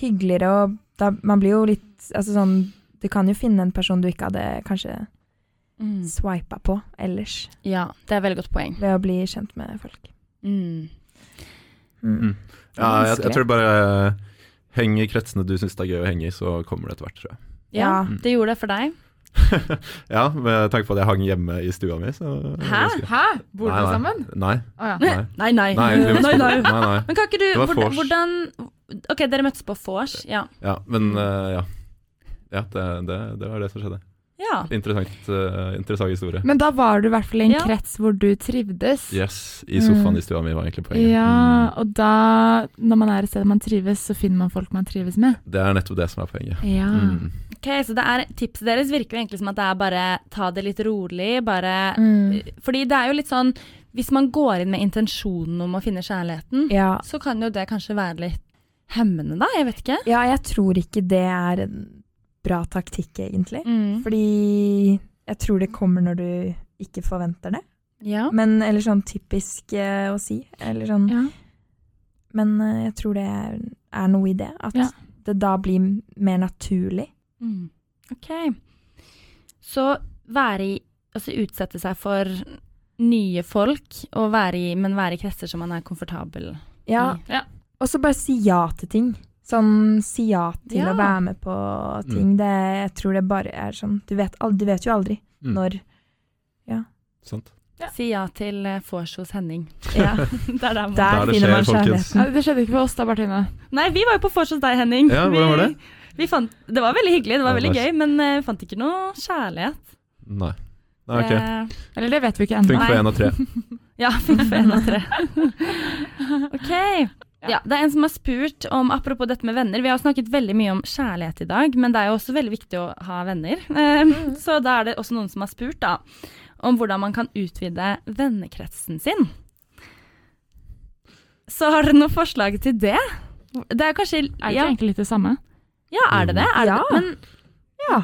[SPEAKER 3] hyggeligere å da, Man blir jo litt Altså sånn Du kan jo finne en person du ikke hadde kanskje
[SPEAKER 1] Mm.
[SPEAKER 3] swipa på ellers,
[SPEAKER 1] Ja, det er et veldig godt poeng.
[SPEAKER 3] ved å bli kjent med folk.
[SPEAKER 1] Mm.
[SPEAKER 3] Mm.
[SPEAKER 4] Mm. Ja, jeg,
[SPEAKER 3] Vanskelig.
[SPEAKER 4] jeg tror bare heng i kretsene du syns det er gøy å henge i, så kommer det etter hvert, tror jeg. Mm.
[SPEAKER 1] Ja,
[SPEAKER 3] Ja.
[SPEAKER 1] det gjorde det for deg.
[SPEAKER 4] ja, med tanke på at jeg hang hjemme i stua mi, så
[SPEAKER 1] Hæ?
[SPEAKER 2] Hæ? Bor
[SPEAKER 4] Nei,
[SPEAKER 2] dere
[SPEAKER 4] nei.
[SPEAKER 2] sammen?
[SPEAKER 4] Nei.
[SPEAKER 2] Å ja.
[SPEAKER 4] Nei.
[SPEAKER 1] Nei, nei.
[SPEAKER 4] Nei, vi må-
[SPEAKER 1] nei, nei.
[SPEAKER 4] nei, nei.
[SPEAKER 1] Men kan ikke
[SPEAKER 4] Det
[SPEAKER 1] du
[SPEAKER 4] var
[SPEAKER 1] hvordan,
[SPEAKER 4] vors.
[SPEAKER 1] hvordan Ok, dere møttes på vors. Ja.
[SPEAKER 4] Ja, men eh, ja. Ja, det, det, det var det som skjedde.
[SPEAKER 1] ja.
[SPEAKER 4] Interessant, eh, interessant historie.
[SPEAKER 2] Men da var du i hvert fall i en
[SPEAKER 1] Ja.
[SPEAKER 2] krets hvor du trivdes.
[SPEAKER 4] Yes, i sofaen
[SPEAKER 3] Mm.
[SPEAKER 4] i stua mi var egentlig poenget.
[SPEAKER 2] Ja,
[SPEAKER 4] Mm.
[SPEAKER 2] og da, når man er et sted man trives, så finner man folk man trives med.
[SPEAKER 4] Det er nettopp det som er poenget.
[SPEAKER 2] Ja.
[SPEAKER 4] Mm.
[SPEAKER 1] Ok, så det er, tipset deres virker jo egentlig som at det er bare ta det litt rolig, bare
[SPEAKER 3] Mm.
[SPEAKER 1] Fordi det er jo litt sånn Hvis man går inn med intensjonen om å finne kjærligheten,
[SPEAKER 3] Ja.
[SPEAKER 1] så kan jo det kanskje være litt hemmende, da. Jeg vet ikke.
[SPEAKER 3] ja, jeg tror ikke det er en bra taktikk, egentlig.
[SPEAKER 1] Mm.
[SPEAKER 3] Fordi jeg tror det kommer når du ikke forventer det.
[SPEAKER 1] Ja.
[SPEAKER 3] Men, eller sånn typisk eh, å si. Eller sånn
[SPEAKER 2] Ja.
[SPEAKER 3] Men eh, jeg tror det er, er noe i det. At
[SPEAKER 2] Ja.
[SPEAKER 3] det da blir m- mer naturlig.
[SPEAKER 1] Mm. Ok. Så være i Altså utsette seg for nye folk, og være i, men være i kretser som man er komfortabel
[SPEAKER 3] Ja.
[SPEAKER 1] i.
[SPEAKER 3] Og så bare si ja til ting. Sånn si ja til
[SPEAKER 1] Ja.
[SPEAKER 3] å være med på ting. Det, jeg tror det bare er sånn Du vet, al- du vet jo aldri
[SPEAKER 4] Mm.
[SPEAKER 3] når
[SPEAKER 4] Sant.
[SPEAKER 1] Si ja til eh, vors hos Henning.
[SPEAKER 3] Ja,
[SPEAKER 1] Det er der man
[SPEAKER 4] Der
[SPEAKER 3] der
[SPEAKER 4] det
[SPEAKER 3] finner man
[SPEAKER 4] skjer,
[SPEAKER 2] Nei,
[SPEAKER 4] folkens.
[SPEAKER 3] kjærligheten.
[SPEAKER 2] Det skjedde ikke for oss da, Martine.
[SPEAKER 1] Nei, vi var jo på vors hos deg, Henning.
[SPEAKER 4] Ja, hvordan var det?
[SPEAKER 1] Vi, vi fant, det var veldig hyggelig, det var
[SPEAKER 4] Ja,
[SPEAKER 1] veldig
[SPEAKER 4] nice.
[SPEAKER 1] gøy, men eh, vi fant ikke noe kjærlighet.
[SPEAKER 4] Nei. Nei, ok.
[SPEAKER 1] Eh,
[SPEAKER 2] Eller det vet vi ikke ennå.
[SPEAKER 4] Funker
[SPEAKER 1] nei.
[SPEAKER 4] på én av tre.
[SPEAKER 1] ja, fikk for en av tre. ok. Ja, det er en som har spurt om, apropos dette med venner, vi har snakket veldig mye om kjærlighet i dag, men det er jo også veldig viktig å ha venner. Eh, Så da er det også noen som har spurt da, om hvordan man kan utvide vennekretsen sin. Så har dere noen forslag til det? Det er kanskje
[SPEAKER 2] Er det ikke egentlig litt det samme?
[SPEAKER 1] Ja, er det det? Er
[SPEAKER 3] Ja.
[SPEAKER 1] det? Men
[SPEAKER 3] Ja.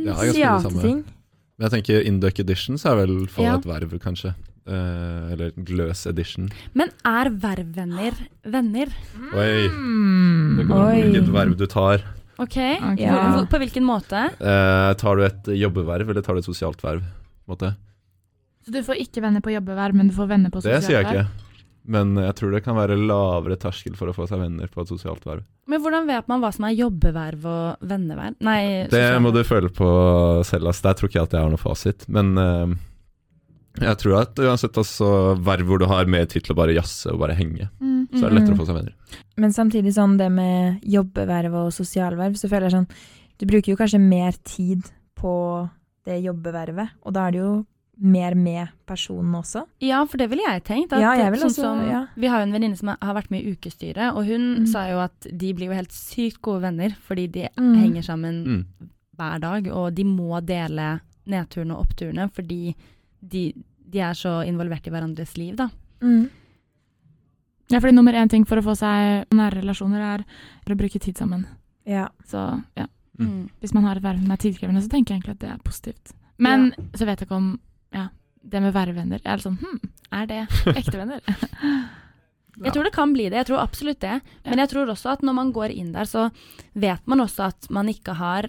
[SPEAKER 4] Ja, det er ganske mye det samme.
[SPEAKER 3] Asiateting.
[SPEAKER 4] Men jeg tenker Induck Edition så er vel for
[SPEAKER 1] Ja.
[SPEAKER 4] et verv, kanskje. Eh, eller Gløs Edition.
[SPEAKER 1] Men er vervvenner venner?
[SPEAKER 4] Oi! Det
[SPEAKER 2] Mm.
[SPEAKER 4] kommer an på
[SPEAKER 3] Oi.
[SPEAKER 4] hvilket verv du tar.
[SPEAKER 1] Ok.
[SPEAKER 2] Ok.
[SPEAKER 1] Hvor, hvor, på hvilken måte?
[SPEAKER 4] Eh, tar du et jobbeverv, eller tar du et sosialt verv? På en måte?
[SPEAKER 2] Så du får ikke venner på jobbeverv, men du får venner på
[SPEAKER 4] Det
[SPEAKER 2] sosialt
[SPEAKER 4] sier jeg ikke. Men jeg tror det kan være lavere terskel for å få seg venner på et sosialt verv.
[SPEAKER 1] Men hvordan vet man hva som er jobbeverv og venneverv? Nei,
[SPEAKER 4] Det
[SPEAKER 1] sosial-
[SPEAKER 4] må du føle på selv. ass. Der tror ikke jeg at jeg har noe fasit. Men eh, jeg tror at uansett altså, verv hvor du har mer tid til å bare jazze og bare henge,
[SPEAKER 2] Mm.
[SPEAKER 4] så er det lettere å få seg venner.
[SPEAKER 3] Men samtidig sånn det med jobbeverv og sosialverv, så føler jeg sånn Du bruker jo kanskje mer tid på det jobbevervet, og da er det jo mer med personen også.
[SPEAKER 1] Ja, for det ville jeg tenkt. At,
[SPEAKER 3] Ja, jeg ville
[SPEAKER 1] sånn
[SPEAKER 3] også-
[SPEAKER 1] som,
[SPEAKER 3] ja.
[SPEAKER 1] Vi har jo en venninne som har vært med i ukestyret, og hun
[SPEAKER 3] Mm.
[SPEAKER 1] sa jo at de blir jo helt sykt gode venner fordi de
[SPEAKER 3] Mm.
[SPEAKER 1] henger sammen
[SPEAKER 4] Mm.
[SPEAKER 1] hver dag, og de må dele nedturene og oppturene fordi de, de er så involvert i hverandres liv, da.
[SPEAKER 2] Ja, fordi nummer én ting for å få seg nære relasjoner, er å bruke tid sammen.
[SPEAKER 3] Ja.
[SPEAKER 2] Så ja,
[SPEAKER 4] Mm.
[SPEAKER 2] hvis man har et verv som er tidkrevende, så tenker jeg egentlig at det er positivt. Men så vet jeg ikke om ja, det med vervevenner Jeg er litt sånn hm, er det
[SPEAKER 4] Mm.
[SPEAKER 2] ekte venner?
[SPEAKER 4] Ja.
[SPEAKER 1] Jeg tror det kan bli det, jeg tror absolutt det. Men jeg tror også at når man går inn der, så vet man også at man ikke har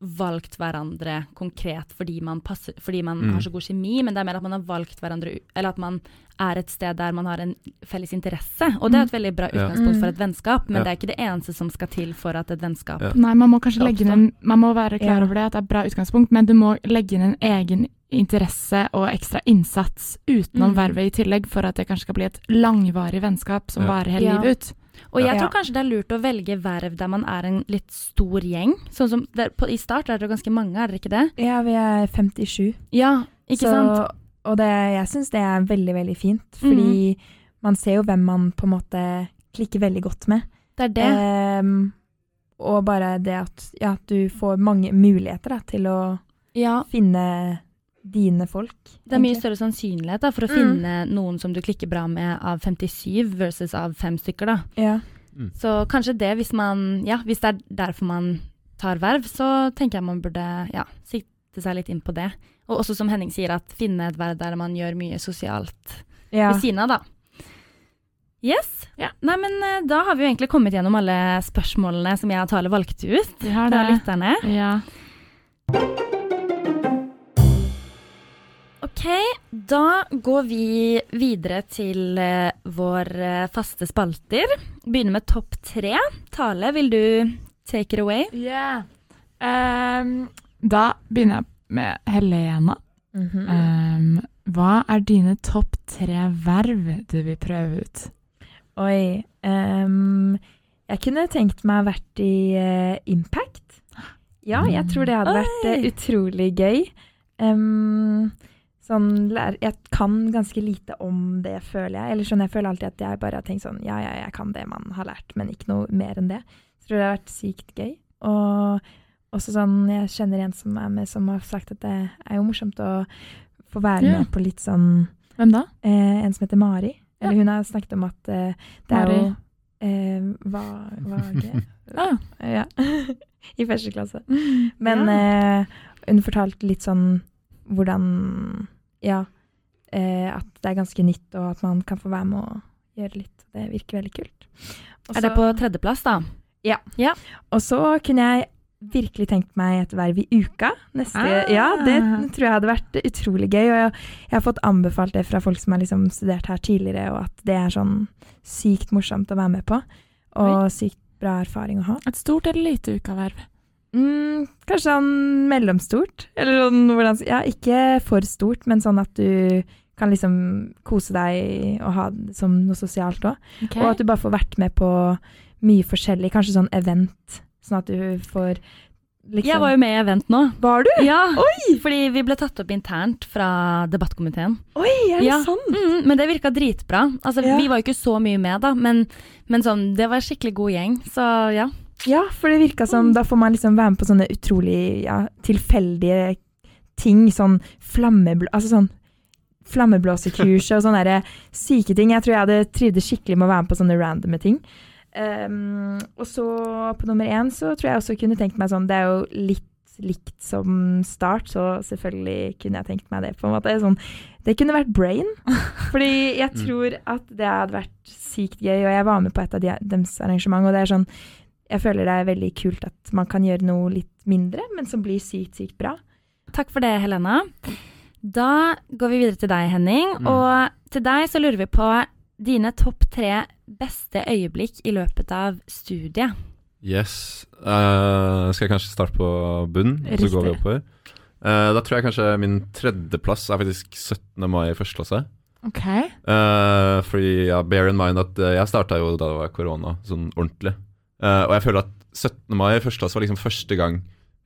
[SPEAKER 1] valgt hverandre konkret fordi man, passer, fordi man
[SPEAKER 4] Mm.
[SPEAKER 1] har så god kjemi, men det er mer at man har valgt hverandre, u- eller at man er et sted der man har en felles interesse. Og det er et veldig bra
[SPEAKER 4] Ja.
[SPEAKER 1] utgangspunkt
[SPEAKER 3] Mm.
[SPEAKER 1] for et vennskap, men
[SPEAKER 4] Ja.
[SPEAKER 1] det er ikke det eneste som skal til for at et vennskap
[SPEAKER 4] Ja.
[SPEAKER 2] Nei, man må kanskje legge inn en, man må være klar
[SPEAKER 3] Ja.
[SPEAKER 2] over det, at det er et bra utgangspunkt, men du må legge inn en egen interesse og ekstra innsats
[SPEAKER 1] Mm.
[SPEAKER 2] utenom vervet i tillegg, for at det kanskje skal bli et langvarig vennskap som
[SPEAKER 4] Ja.
[SPEAKER 2] varer hele
[SPEAKER 1] Ja.
[SPEAKER 2] livet ut.
[SPEAKER 1] Og jeg
[SPEAKER 3] Ja.
[SPEAKER 1] tror kanskje det er lurt å velge verv der man er en litt stor gjeng. Sånn som der, på, I start er dere ganske mange, er dere ikke det?
[SPEAKER 3] ja, vi er 57.
[SPEAKER 1] Ja, ikke
[SPEAKER 3] så,
[SPEAKER 1] sant? Mm.
[SPEAKER 3] Og det, jeg syns det er veldig, veldig fint, fordi man ser jo hvem man på en måte klikker veldig godt med.
[SPEAKER 1] Det er det.
[SPEAKER 3] Ehm, og bare det at ja, at du får mange muligheter da, til å
[SPEAKER 1] Ja,
[SPEAKER 3] finne dine folk.
[SPEAKER 1] Det er mye
[SPEAKER 3] egentlig.
[SPEAKER 1] større sannsynlighet da, for å
[SPEAKER 3] Mm.
[SPEAKER 1] finne noen som du klikker bra med av 57 versus av fem stykker. Da.
[SPEAKER 3] Ja.
[SPEAKER 4] Mm.
[SPEAKER 1] Så kanskje det, hvis, man, ja, hvis det er derfor man tar verv, så tenker jeg man burde ja, sikte seg litt inn på det. Og også som Henning sier, at finne et verv der man gjør mye sosialt
[SPEAKER 3] Ja.
[SPEAKER 1] ved siden av, da. Yes.
[SPEAKER 2] Ja.
[SPEAKER 1] Nei, men eh, da har vi jo egentlig kommet gjennom alle spørsmålene som jeg og Tale valgte ut
[SPEAKER 2] Vi har
[SPEAKER 1] fra
[SPEAKER 2] det.
[SPEAKER 1] lytterne.
[SPEAKER 2] Ja.
[SPEAKER 1] Ok, da går vi videre til eh, vår eh, faste spalter. Begynner med topp tre. Tale, vil du take it away?
[SPEAKER 2] Ehm, da begynner jeg med Helena.
[SPEAKER 3] Mhm.
[SPEAKER 2] Ehm, hva er dine topp tre verv du vil prøve ut?
[SPEAKER 3] Oi. ehm, jeg kunne tenkt meg vært i eh, Impact. Ja, jeg tror det hadde vært eh,
[SPEAKER 1] Oi.
[SPEAKER 3] utrolig gøy. Ehm, sånn lær- Jeg kan ganske lite om det, føler jeg. Eller sånn, jeg føler alltid at jeg bare har tenkt sånn Ja, ja, jeg kan det man har lært, men ikke noe mer enn det. Jeg tror det har vært sykt gøy. Og også sånn Jeg kjenner en som er med, som har sagt at det er jo morsomt å få være
[SPEAKER 2] Ja.
[SPEAKER 3] med på litt sånn
[SPEAKER 2] Hvem da?
[SPEAKER 3] eh, en som heter Mari. Eller
[SPEAKER 2] Ja.
[SPEAKER 3] hun har snakket om at eh, det er
[SPEAKER 2] Mari.
[SPEAKER 3] jo eh, hva, hva
[SPEAKER 2] Ah,
[SPEAKER 3] Ja. I første klasse. Men eh, hun fortalte litt sånn hvordan Ja. Eh, at det er ganske nytt, og at man kan få være med og gjøre litt. Det virker veldig kult. Og
[SPEAKER 1] Er det
[SPEAKER 3] så-
[SPEAKER 1] på tredjeplass, da?
[SPEAKER 3] Og så kunne jeg virkelig tenkt meg et verv i uka. Neste,
[SPEAKER 2] Ah.
[SPEAKER 3] Ja, det tror jeg hadde vært utrolig gøy. Og jeg, jeg har fått anbefalt det fra folk som har liksom studert her tidligere, og at det er sånn sykt morsomt å være med på. Og sykt bra erfaring å ha.
[SPEAKER 2] et stort eller lite ukaverv?
[SPEAKER 3] Mm, kanskje sånn mellomstort? Eller sånn hvordan Ja, ikke for stort, men sånn at du kan liksom kose deg og ha det som noe sosialt òg.
[SPEAKER 2] Ok.
[SPEAKER 3] Og at du bare får vært med på mye forskjellig, kanskje sånn event, sånn at du får liksom
[SPEAKER 1] Jeg var jo med i event nå.
[SPEAKER 3] Var du?
[SPEAKER 1] Ja,
[SPEAKER 3] Oi!
[SPEAKER 1] fordi vi ble tatt opp internt fra debattkomiteen.
[SPEAKER 3] Oi, er det
[SPEAKER 1] Ja.
[SPEAKER 3] sånn?
[SPEAKER 1] Mm, men det virka dritbra. Altså,
[SPEAKER 3] Ja.
[SPEAKER 1] Vi var jo ikke så mye med, da, men, men sånn, det var en skikkelig god gjeng. Så ja.
[SPEAKER 3] Ja, for det virka som da får man liksom være med på sånne utrolig ja, tilfeldige ting. Sånn flammeblå... Altså sånn flammeblåsekurs og sånne der syke ting. Jeg tror jeg hadde trivdes skikkelig med å være med på sånne randome ting. Ehm, og så på nummer én så tror jeg også kunne tenkt meg sånn Det er jo litt likt som start, så selvfølgelig kunne jeg tenkt meg det. på en måte. Sånn, det kunne vært Brain, fordi jeg
[SPEAKER 4] Mm.
[SPEAKER 3] tror at det hadde vært sykt gøy. Og jeg var med på et av de, deres arrangement, og det er sånn Jeg føler det er veldig kult at man kan gjøre noe litt mindre, men som blir sykt, sykt bra.
[SPEAKER 1] Takk for det, Helena. Da går vi videre til deg, Henning.
[SPEAKER 4] Mm.
[SPEAKER 1] Og til deg så lurer vi på dine topp tre beste øyeblikk i løpet av studiet.
[SPEAKER 4] Yes. Eh, skal jeg kanskje starte på bunn, og så går vi
[SPEAKER 2] Riktig.
[SPEAKER 4] oppover? Eh, da tror jeg kanskje min tredjeplass er faktisk 17. mai i første klasse.
[SPEAKER 2] OK.
[SPEAKER 4] Eh, fordi ja, bear in mind at eh, jeg starta jo da det var korona, sånn ordentlig. Eh, og jeg føler at 17. mai i første klasse var liksom første gang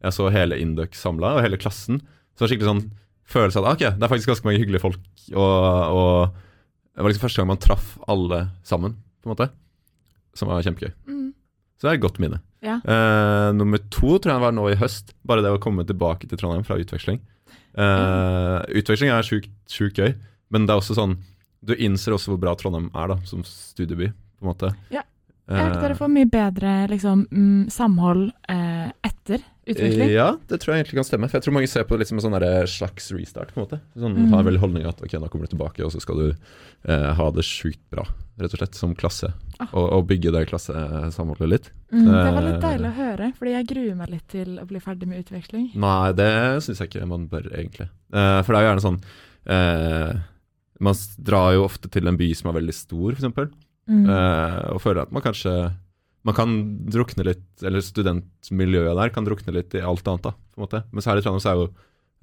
[SPEAKER 4] jeg så hele Induc samla, og hele klassen. Så det var skikkelig sånn følelse av at ok, det er faktisk ganske mange hyggelige folk. Og, og det var liksom første gang man traff alle sammen, på en måte. Som var kjempegøy.
[SPEAKER 2] Mm.
[SPEAKER 4] Så det er et godt minne.
[SPEAKER 2] Ja.
[SPEAKER 4] Eh, nummer to tror jeg var nå i høst. Bare det å komme tilbake til Trondheim fra utveksling. Eh, Utveksling er sjukt sjukt gøy, men det er også sånn Du innser også hvor bra Trondheim er da, som studieby, på en måte.
[SPEAKER 2] Ja.
[SPEAKER 4] Eh,
[SPEAKER 2] Jeg vet dere får mye bedre liksom, mm, samhold eh, etter utvikling.
[SPEAKER 4] Ja, det tror jeg egentlig kan stemme. For jeg tror mange ser på det litt som en sånn derre slags restart. på en måte Sånn
[SPEAKER 2] Mm.
[SPEAKER 4] Har veldig holdning at ok, nå kommer du tilbake, og så skal du eh, ha det sjukt bra, rett og slett, som klasse.
[SPEAKER 2] Ah.
[SPEAKER 4] Og, og bygge det klassesamholdet litt.
[SPEAKER 2] Mm. Det var litt
[SPEAKER 4] Eh,
[SPEAKER 2] deilig å høre, fordi jeg gruer meg litt til å bli ferdig med utveksling.
[SPEAKER 4] Nei, det syns jeg ikke man bør, egentlig. Eh, for det er jo gjerne sånn eh, Man s- drar jo ofte til en by som er veldig stor, f.eks., eksempel
[SPEAKER 3] Mm.
[SPEAKER 4] eh, og føler at man kanskje Man kan drukne litt Eller studentmiljøet der kan drukne litt i alt annet, da, på en måte. Mens her i Trondheim så er jo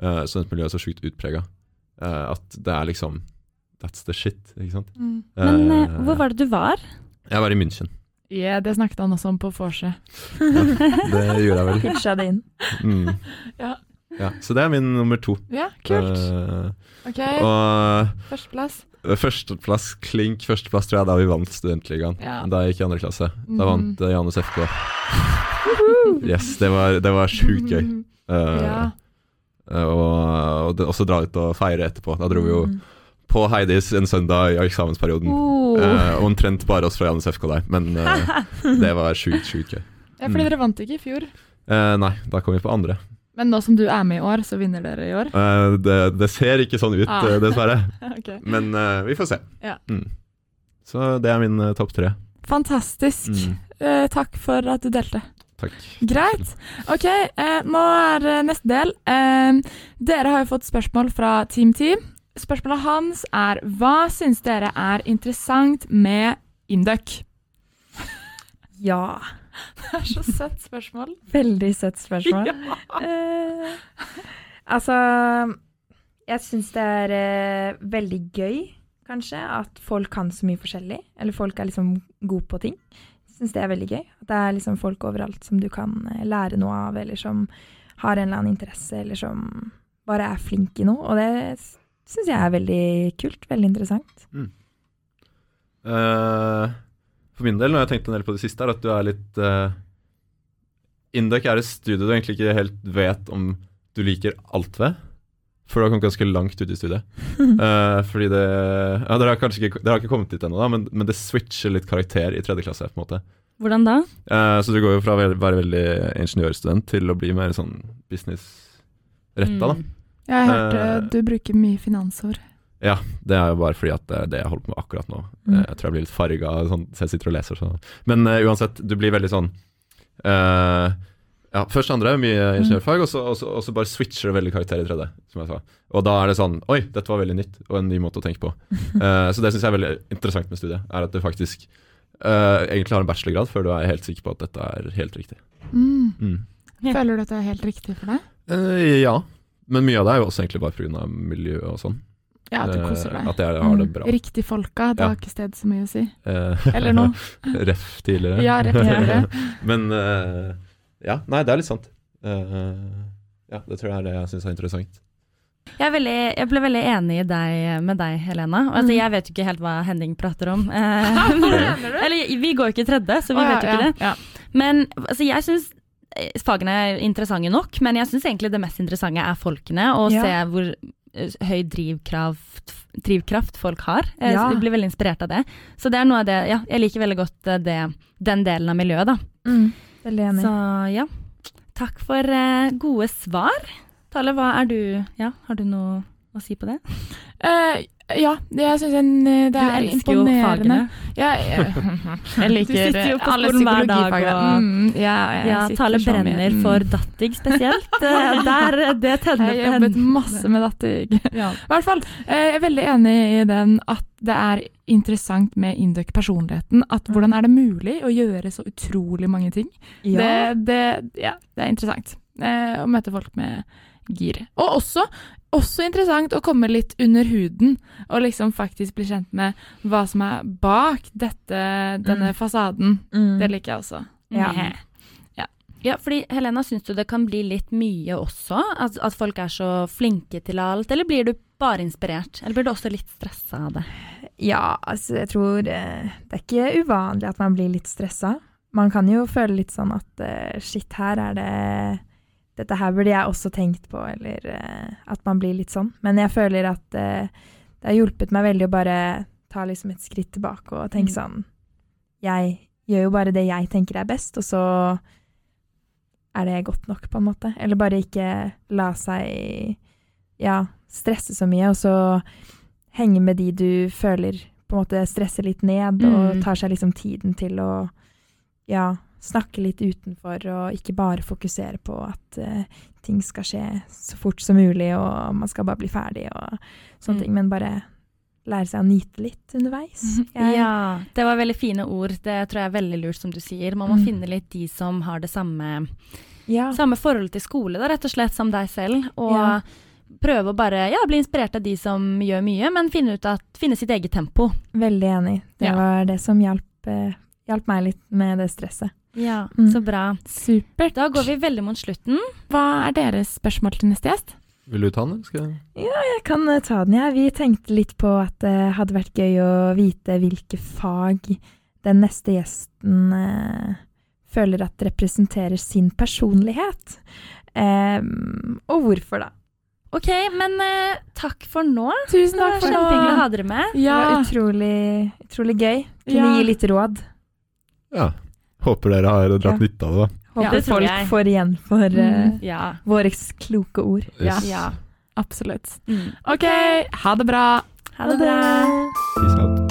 [SPEAKER 4] eh, studentmiljøet så sjukt utprega eh, at det er liksom That's the shit, ikke sant.
[SPEAKER 2] Mm.
[SPEAKER 1] Men eh,
[SPEAKER 4] Eh,
[SPEAKER 1] hvor var det du var?
[SPEAKER 4] Jeg var i München.
[SPEAKER 2] Ja, det snakket han også om på vorset.
[SPEAKER 4] Det gjorde jeg vel.
[SPEAKER 3] Pitcha det inn.
[SPEAKER 4] Mm.
[SPEAKER 2] Ja.
[SPEAKER 4] Ja, så det er min nummer to.
[SPEAKER 2] Ja, kult.
[SPEAKER 4] Eh,
[SPEAKER 2] Ok,
[SPEAKER 4] og
[SPEAKER 2] førsteplass.
[SPEAKER 4] Førsteplass, klink førsteplass, tror jeg, da vi vant Studentligaen.
[SPEAKER 2] Ja.
[SPEAKER 4] Da jeg gikk i andre klasse. Da
[SPEAKER 2] Mhm.
[SPEAKER 4] vant eh, Janus FK. Yes, det var, det var sjukt gøy.
[SPEAKER 2] Mm.
[SPEAKER 4] Eh,
[SPEAKER 2] Ja.
[SPEAKER 4] og og det, også dra ut og feire etterpå. Da dro vi jo
[SPEAKER 2] Mm.
[SPEAKER 4] på Heidis en søndag i eksamensperioden.
[SPEAKER 1] Oh.
[SPEAKER 4] Eh, omtrent bare oss fra Janus FK der, men eh, det var sjukt, sjukt gøy.
[SPEAKER 2] ja, fordi
[SPEAKER 4] Mm.
[SPEAKER 2] dere vant ikke i fjor.
[SPEAKER 4] Eh, nei, da kom vi på andre.
[SPEAKER 2] Men nå som du er med i år, så vinner dere i år.
[SPEAKER 4] Eh, det, det ser ikke sånn ut,
[SPEAKER 2] Ah.
[SPEAKER 4] eh, dessverre.
[SPEAKER 2] Ok.
[SPEAKER 4] Men eh, vi får se.
[SPEAKER 2] Ja.
[SPEAKER 4] Mm. Så det er min eh, topp tre.
[SPEAKER 2] Fantastisk.
[SPEAKER 4] Mm.
[SPEAKER 2] Eh, takk for at du delte.
[SPEAKER 4] Takk.
[SPEAKER 2] Greit. Ok, eh, nå er eh, neste del. Eh, dere har jo fått spørsmål fra Team Team. Spørsmålet hans er hva syns dere er interessant med Induc?
[SPEAKER 3] Ja.
[SPEAKER 2] Det er så søtt spørsmål.
[SPEAKER 3] Veldig søtt spørsmål. Eh, altså Jeg syns det er eh, veldig gøy, kanskje, at folk kan så mye forskjellig. Eller folk er liksom gode på ting. Jeg syns det er veldig gøy. At det er liksom folk overalt som du kan eh, lære noe av, eller som har en eller annen interesse, eller som bare er flink i noe. Og det syns jeg er veldig kult. Veldig interessant.
[SPEAKER 4] Eh, for min del, når jeg tenkte en del på det siste, er at du er litt uh, Induc er et studie du egentlig ikke helt vet om du liker alt ved. For du har kommet ganske langt ut i studiet. Eh, fordi det ja, Dere har kanskje ikke, dere har ikke kommet dit ennå, da, men, men det switcher litt karakter i tredje klasse. på en måte.
[SPEAKER 1] Hvordan da?
[SPEAKER 4] Eh, så du går jo fra å være- være veldig ingeniørstudent til å bli mer sånn businessretta, da.
[SPEAKER 1] Mm.
[SPEAKER 2] Jeg hørte
[SPEAKER 4] Eh.
[SPEAKER 2] du bruker mye finansord.
[SPEAKER 4] Det er jo bare fordi at det er det jeg holder på med akkurat nå.
[SPEAKER 3] Mm.
[SPEAKER 4] Eh, Jeg tror jeg blir litt farga sånn, så jeg sitter og leser. Sånn. Men eh, uansett, du blir veldig sånn eh, ja, Først andre, mye
[SPEAKER 2] Mm.
[SPEAKER 4] ingeniørfag, og så, og, så, og så bare switcher det veldig karakter i tredje. som jeg sa. Og da er det sånn Oi, dette var veldig nytt, og en ny måte å tenke på. Eh, så det syns jeg er veldig interessant med studiet, er at du faktisk eh, egentlig har en bachelorgrad før du er helt sikker på at dette er helt riktig.
[SPEAKER 2] Mm.
[SPEAKER 4] Mm.
[SPEAKER 1] Ja.
[SPEAKER 2] Føler du at det er helt riktig for deg?
[SPEAKER 4] Eh, ja. Men mye av det er jo også egentlig bare pga. miljøet og sånn.
[SPEAKER 2] Ja, at du koser
[SPEAKER 4] Eh,
[SPEAKER 2] deg.
[SPEAKER 4] at jeg har det
[SPEAKER 3] Mm.
[SPEAKER 4] bra.
[SPEAKER 2] Riktig folka, det
[SPEAKER 4] Ja.
[SPEAKER 2] har ikke sted så mye å si.
[SPEAKER 4] Eh,
[SPEAKER 2] Eller noe.
[SPEAKER 4] Ref tidligere.
[SPEAKER 2] Ja, rett og slett.
[SPEAKER 4] Men eh, ja, nei, det er litt sant. Eh, ja, det tror jeg er det jeg syns er interessant.
[SPEAKER 1] Jeg, er veldig, jeg ble veldig enig i deg, med deg, Helena. Og Altså, jeg vet jo ikke helt hva Henning prater om. Eh,
[SPEAKER 2] mener
[SPEAKER 1] Eller vi går jo ikke i tredje, så vi
[SPEAKER 2] Å, ja,
[SPEAKER 1] vet jo ikke
[SPEAKER 2] ja,
[SPEAKER 1] det. Men altså, jeg syns fagene er interessante nok, men jeg syns egentlig det mest interessante er folkene, og
[SPEAKER 3] Ja.
[SPEAKER 1] se hvor eh, høy drivkraft, drivkraft folk har. Eh,
[SPEAKER 3] Ja.
[SPEAKER 1] Så vi blir veldig inspirert av det. Så det er noe av det
[SPEAKER 2] Mm.
[SPEAKER 1] Ja, jeg liker veldig godt eh, det, den delen av miljøet, da.
[SPEAKER 3] Veldig enig.
[SPEAKER 1] Så ja. Takk for eh, gode svar. Tale, hva er du Ja, har du noe å si på det?
[SPEAKER 2] Eh, ja, jeg syns det
[SPEAKER 1] du
[SPEAKER 2] er imponerende. Ja, eh, jeg, jeg
[SPEAKER 1] Du sitter jo på skolen hver dag og-
[SPEAKER 2] Mm, ja, jeg
[SPEAKER 1] Ja,
[SPEAKER 2] sitter
[SPEAKER 1] Tale
[SPEAKER 2] så mye.
[SPEAKER 1] brenner
[SPEAKER 2] Mm.
[SPEAKER 1] Eh, for sånn dattig spesielt. Eh, Der, det
[SPEAKER 2] Jeg
[SPEAKER 1] tenner
[SPEAKER 2] har
[SPEAKER 1] på
[SPEAKER 2] jobbet
[SPEAKER 1] henne.
[SPEAKER 2] masse med dette.
[SPEAKER 1] Ja.
[SPEAKER 2] I hvert fall, eh, jeg er veldig enig i den at det er interessant med Indøk-personligheten. At
[SPEAKER 1] Mm.
[SPEAKER 2] hvordan er det mulig å gjøre så utrolig mange ting? Det, det, ja, det er interessant eh, å møte folk med gir. Og også, også interessant å komme litt under huden og liksom faktisk bli kjent med hva som er bak dette, denne fasaden.
[SPEAKER 3] Mm.
[SPEAKER 2] Det liker jeg også.
[SPEAKER 3] Ja.
[SPEAKER 1] Ja, fordi Helena, syns du det kan bli litt mye også? At, at folk er så flinke til alt? Eller blir du bare inspirert? Eller blir du også litt stressa av det?
[SPEAKER 3] Ja, altså jeg tror eh, det er ikke uvanlig at man blir litt stressa. Man kan jo føle litt sånn at eh, shit, her er det Dette her burde jeg også tenkt på, eller eh, at man blir litt sånn. Men jeg føler at eh, det har hjulpet meg veldig å bare ta liksom et skritt tilbake og tenke sånn Jeg gjør jo bare det jeg tenker er best, og så er det godt nok, på en måte. Eller bare ikke la seg ja, stresse så mye, og så henge med de du føler på en måte stresser litt ned,
[SPEAKER 1] Mm.
[SPEAKER 3] og tar seg liksom tiden til å ja, snakke litt utenfor, og ikke bare fokusere på at eh, ting skal skje så fort som mulig, og man skal bare bli ferdig og sånne
[SPEAKER 1] Mm.
[SPEAKER 3] ting, men bare lære seg å nyte litt underveis.
[SPEAKER 2] Mhm.
[SPEAKER 3] Jeg-
[SPEAKER 1] Ja, det var veldig fine ord. Det tror jeg er veldig lurt, som du sier. Man må
[SPEAKER 3] Mm.
[SPEAKER 1] finne litt de som har det samme,
[SPEAKER 3] ja.
[SPEAKER 1] samme forholdet til skole, da, rett og slett, som deg selv. Og
[SPEAKER 3] Ja.
[SPEAKER 1] prøve å bare ja, bli inspirert av de som gjør mye, men finne, ut at, finne sitt eget tempo.
[SPEAKER 3] Veldig enig. Det
[SPEAKER 2] Ja.
[SPEAKER 3] var det som hjalp, eh, hjalp meg litt med det stresset.
[SPEAKER 1] Ja,
[SPEAKER 3] Mm.
[SPEAKER 1] Så bra.
[SPEAKER 2] Supert.
[SPEAKER 1] Da går vi veldig mot slutten.
[SPEAKER 2] Hva er deres spørsmål til neste gjest?
[SPEAKER 4] Vil du ta den, eller skal jeg?
[SPEAKER 3] Jeg kan eh, ta den, jeg. Vi tenkte litt på at det hadde vært gøy å vite hvilke fag den neste gjesten eh, føler at representerer sin personlighet. Em, og hvorfor, da.
[SPEAKER 1] OK, men eh, takk for nå.
[SPEAKER 2] Tusen
[SPEAKER 1] Det var
[SPEAKER 2] takk for
[SPEAKER 1] kjempehyggelig å
[SPEAKER 2] nå.
[SPEAKER 1] ha dere med.
[SPEAKER 3] Det var
[SPEAKER 2] Ja.
[SPEAKER 3] utrolig, utrolig gøy. Kunne
[SPEAKER 2] Ja.
[SPEAKER 3] gi litt råd.
[SPEAKER 4] Ja. Håper dere har dratt
[SPEAKER 3] Ja.
[SPEAKER 4] nytte av det,
[SPEAKER 1] Ja,
[SPEAKER 3] Håper
[SPEAKER 1] det tror
[SPEAKER 3] folk
[SPEAKER 1] jeg.
[SPEAKER 3] får igjen for eh,
[SPEAKER 2] Mm.
[SPEAKER 1] Ja.
[SPEAKER 3] våre kloke ord.
[SPEAKER 4] da. Yes.
[SPEAKER 1] ja.
[SPEAKER 2] Absolutt.
[SPEAKER 1] Mm.
[SPEAKER 2] OK, ha det bra.
[SPEAKER 1] Ha det bra.
[SPEAKER 4] Peace out.